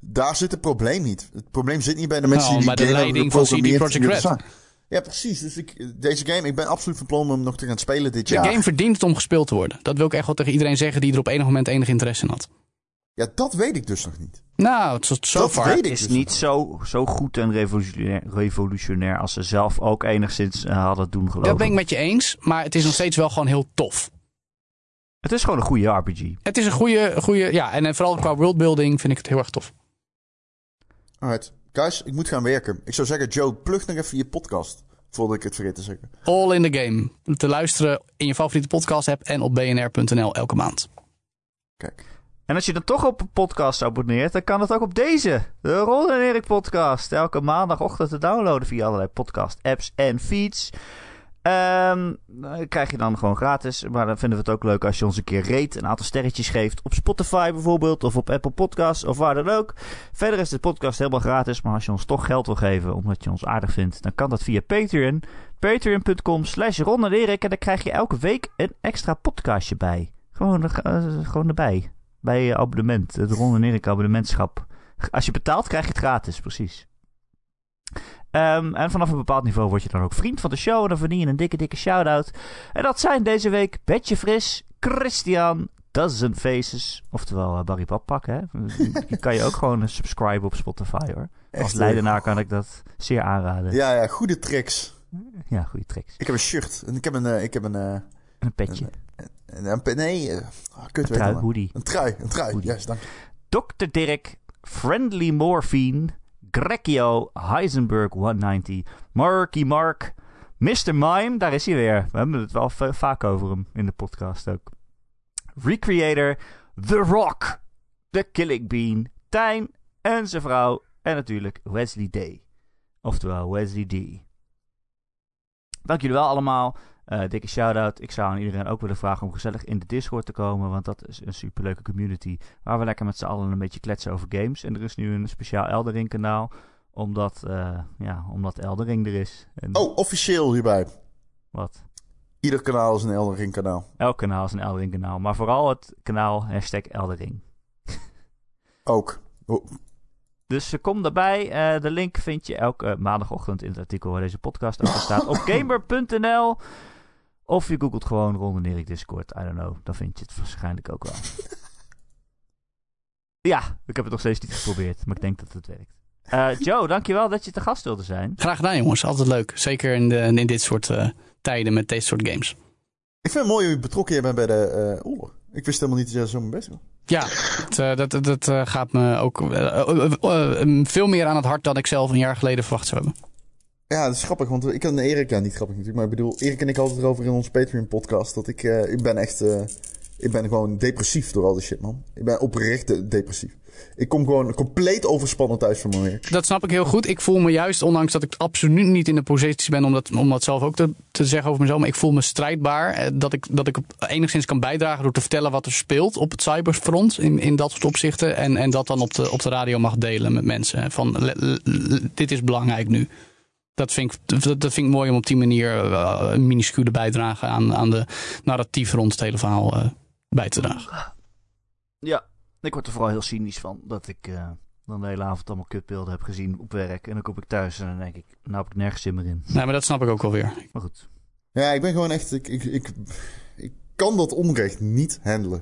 Speaker 2: daar zit het probleem niet. Het probleem zit niet bij de mensen
Speaker 3: Nou,
Speaker 2: die
Speaker 3: bij de
Speaker 2: die game hebben
Speaker 3: leiding van CD
Speaker 2: geprogrammeerd en die
Speaker 3: Projekt
Speaker 2: dat zijn. Ja, precies. Dus ik, deze game, ik ben absoluut van plan om hem nog te gaan spelen dit
Speaker 3: De
Speaker 2: jaar.
Speaker 3: game verdient het om gespeeld te worden. Dat wil ik echt wel tegen iedereen zeggen die er op enig moment enig interesse in had.
Speaker 2: Ja, dat weet ik dus nog niet.
Speaker 3: Nou, tot
Speaker 2: dat
Speaker 3: zover.
Speaker 2: weet ik
Speaker 1: is
Speaker 2: dus
Speaker 1: niet
Speaker 2: nog
Speaker 1: zo, zo goed en revolutionair, revolutionair als ze zelf ook enigszins eh, hadden doen geloof
Speaker 3: Dat ben ik
Speaker 1: ik.
Speaker 3: met je eens, maar het is nog steeds wel gewoon heel tof.
Speaker 1: Het is gewoon een goede RPG.
Speaker 3: Het is een goede, goede ja, en, en vooral qua worldbuilding vind ik het heel erg tof.
Speaker 2: Alright. Guys, ik moet gaan werken. Ik zou zeggen, Joe, plug nog even je podcast. Voordat ik het vergeet te zeggen.
Speaker 3: All in the Game. Te luisteren in je favoriete podcast app en op bnr.nl elke maand.
Speaker 2: Kijk.
Speaker 1: En als je dan toch op een podcast abonneert, dan kan het ook op deze. De Ron en Erik podcast. Elke maandagochtend te downloaden via allerlei podcast apps en feeds. Ehm, eh, krijg je dan gewoon gratis. Maar dan vinden we het ook leuk als je ons een keer rate. Een aantal sterretjes geeft. Op Spotify bijvoorbeeld. Of op Apple Podcasts. Of waar dan ook. Verder is de podcast helemaal gratis. Maar als je ons toch geld wil geven. Omdat je ons aardig vindt. Dan kan dat via Patreon. Patreon.com slash Ron en Erik. En dan krijg je elke week een extra podcastje bij. Gewoon, eh, gewoon erbij. Bij je abonnement. Het Ron en Erik abonnementschap. Als je betaalt krijg je het gratis. Precies. Ehm, en vanaf een bepaald niveau word je dan ook vriend van de show. En dan verdien je een dikke, dikke shout-out. En dat zijn deze week Betje Fris, Christian, Dozen Faces. Oftewel eh, Barry Badpak, hè. Die kan je ook gewoon eh, subscriben op Spotify, hoor. Als
Speaker 2: Echt,
Speaker 1: leidenaar kan ik dat zeer aanraden. Ja,
Speaker 2: Ja, ja, goede tricks.
Speaker 1: goede tricks.
Speaker 2: Ik heb een shirt. En ik heb een... eh, ik heb een, eh,
Speaker 1: En een petje.
Speaker 2: een, een, nee, eh,
Speaker 1: Een
Speaker 2: ah, kut weet ik
Speaker 1: trui,
Speaker 2: wel.
Speaker 1: hoodie.
Speaker 2: Een trui, een trui.
Speaker 1: Hoodie.
Speaker 2: Juist, dank.
Speaker 1: Dr. Dirk, Friendly Morphine, Grecchio, Heisenberg 190, Marky Mark, Mr. Mime, daar is hij weer. We hebben het wel va- vaak over hem in de podcast ook. Recreator, The Rock, The Killing Bean, Tijn en zijn vrouw en natuurlijk Wesley D. Oftewel Wesley D. Dank jullie wel allemaal. Eh, dikke shout-out. Ik zou aan iedereen ook willen vragen om gezellig in de Discord te komen, want dat is een superleuke community waar we lekker met z'n allen een beetje kletsen over games. En er is nu een speciaal Eldering kanaal, omdat, eh ja, omdat Eldering er is. En
Speaker 2: Oh, officieel hierbij.
Speaker 1: Wat?
Speaker 2: Ieder kanaal is een Elden Ring kanaal.
Speaker 1: Elk kanaal is een Eldering kanaal, maar vooral het kanaal hashtag Eldering.
Speaker 2: Ook. Oh,
Speaker 1: Dus eh, kom daarbij. Eh, de link vind je elke eh, maandagochtend in het artikel waar deze podcast over staat op gamer.nl. Of je googelt gewoon Ron en Erik Discord. I don't know. Dan vind je het waarschijnlijk ook wel. ja, ik heb het nog steeds niet geprobeerd. Maar ik denk dat het werkt. Eh Joe, dankjewel dat je te gast wilde zijn.
Speaker 3: Graag gedaan jongens, altijd leuk. Zeker in, de, in dit soort eh, tijden met deze soort games.
Speaker 2: Ik vind het mooi hoe je betrokken je bent bij de eh, oorlog. Ik wist helemaal niet dat jij zo mijn best was.
Speaker 3: Ja, het, eh, dat, dat, dat, eh, gaat me ook eh, eh, eh, eh, veel meer aan het hart dan ik zelf een jaar geleden verwacht zou hebben.
Speaker 2: Ja, dat is grappig, want ik en Erik, ja, niet grappig natuurlijk, maar ik bedoel, Erik en ik hadden het erover in ons Patreon-podcast, dat ik, eh, ik ben echt, eh, ik ben gewoon depressief door al die shit, man. Ik ben oprecht eh, depressief. Ik kom gewoon compleet overspannen thuis van mijn werk.
Speaker 3: Dat snap ik heel goed. Ik voel me juist, ondanks dat ik absoluut niet in de positie ben om dat, om dat zelf ook te, te zeggen over mezelf, maar ik voel me strijdbaar. eh, Dat ik, dat ik op- enigszins kan bijdragen door te vertellen wat er speelt op het cyberfront in, in dat soort opzichten. En, en dat dan op de, op de radio mag delen met mensen. Van le- le- le- dit is belangrijk nu. Dat vind, ik, dat, dat vind ik mooi om op die manier eh, een minuscule bijdrage aan, aan de narratief rond het hele verhaal eh, bij te dragen.
Speaker 1: Ja, ik word er vooral heel cynisch van dat ik eh, dan de hele avond allemaal kutbeelden heb gezien op werk. En dan kom ik thuis en dan denk ik, nou heb ik nergens zin meer in.
Speaker 3: Nee, maar dat snap ik ook wel weer.
Speaker 1: Maar goed.
Speaker 2: Ja, ik ben gewoon echt, ik, ik, ik, ik kan dat onrecht niet handelen.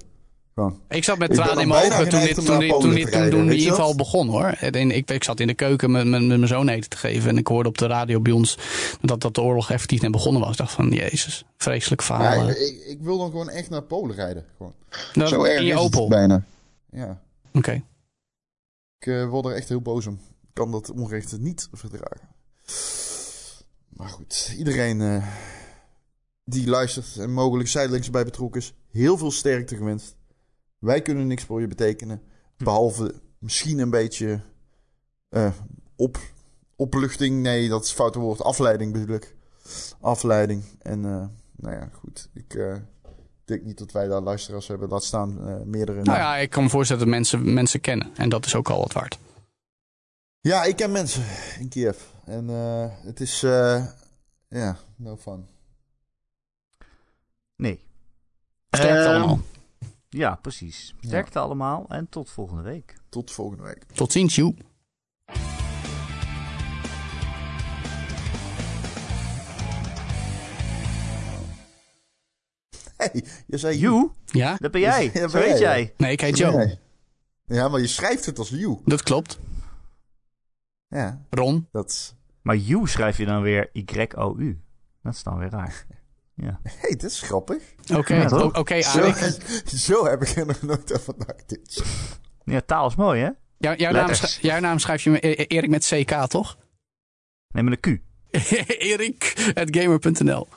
Speaker 2: Gewoon.
Speaker 3: Ik zat met
Speaker 2: Ik ben
Speaker 3: tranen in
Speaker 2: al
Speaker 3: mijn
Speaker 2: bijna
Speaker 3: ogen toen dit,
Speaker 2: geneigd om
Speaker 3: toen
Speaker 2: naar
Speaker 3: dit,
Speaker 2: Polen te
Speaker 3: toen dit, toen,
Speaker 2: rijden,
Speaker 3: toen
Speaker 2: weet
Speaker 3: die
Speaker 2: je dat?
Speaker 3: inval begon hoor. En ik, ik zat in de keuken met, met, met mijn zoon eten te geven. En ik hoorde op de radio bij ons dat, dat de oorlog effectief net begonnen was. Ik dacht van, jezus, vreselijk verhaal.
Speaker 2: Ja,
Speaker 3: eh.
Speaker 2: ik, ik wil dan gewoon echt naar Polen rijden. Gewoon.
Speaker 3: Nou,
Speaker 2: Zo erg
Speaker 3: in je
Speaker 2: is
Speaker 3: Opel.
Speaker 2: het
Speaker 3: Oké.
Speaker 2: bijna. Ja.
Speaker 3: Oké.
Speaker 2: Ik eh, word er echt heel boos om. Ik kan dat onrecht niet verdragen. Maar goed, iedereen eh, die luistert en mogelijk zijdelings bij betrokken is, heel veel sterkte gewenst. Wij kunnen niks voor je betekenen. Behalve misschien een beetje eh, op, opluchting. Nee, dat is het foute woord. Afleiding bedoel ik. Afleiding. En eh, nou ja, goed. Ik eh, denk niet dat wij daar luisteraars hebben. Laat staan eh, meerdere.
Speaker 3: Nou ja, ik kan me voorstellen dat mensen mensen kennen. En dat is ook al wat waard.
Speaker 2: Ja, ik ken mensen in Kiev. En eh, het is, eh, ja, no fun.
Speaker 1: Nee.
Speaker 3: Sterkt
Speaker 1: Ehm,
Speaker 3: allemaal.
Speaker 1: Ja, precies. Sterkte allemaal en tot volgende week.
Speaker 2: Tot volgende week.
Speaker 3: Tot ziens, joe.
Speaker 2: Hey, je zei
Speaker 1: You,
Speaker 3: Ja?
Speaker 1: dat ben jij.
Speaker 2: Ja, dat
Speaker 1: Zo
Speaker 2: ben
Speaker 1: heet
Speaker 2: jij,
Speaker 1: jij.
Speaker 3: Nee, ik heet
Speaker 2: you.
Speaker 3: Joe.
Speaker 2: Nee. Ja, maar je schrijft het als you.
Speaker 3: Dat klopt.
Speaker 2: Ja,
Speaker 3: Ron.
Speaker 2: dat is...
Speaker 1: Maar you schrijf je dan weer Y-O-U. Dat is dan weer raar. Ja.
Speaker 2: hey, dit is grappig.
Speaker 3: Oké,
Speaker 1: Ja, toch?
Speaker 3: o- oké,
Speaker 2: Zo,
Speaker 3: Arik.
Speaker 2: zo heb ik er nog nooit over nagedacht.
Speaker 1: ja, taal is mooi, hè?
Speaker 3: Jou- jouw, naam
Speaker 1: Letters.
Speaker 3: schrijf, jouw naam schrijf je met- eh, eh, Erik met CK, toch?
Speaker 1: Nee, met een Q.
Speaker 3: Erik, at gamer.nl.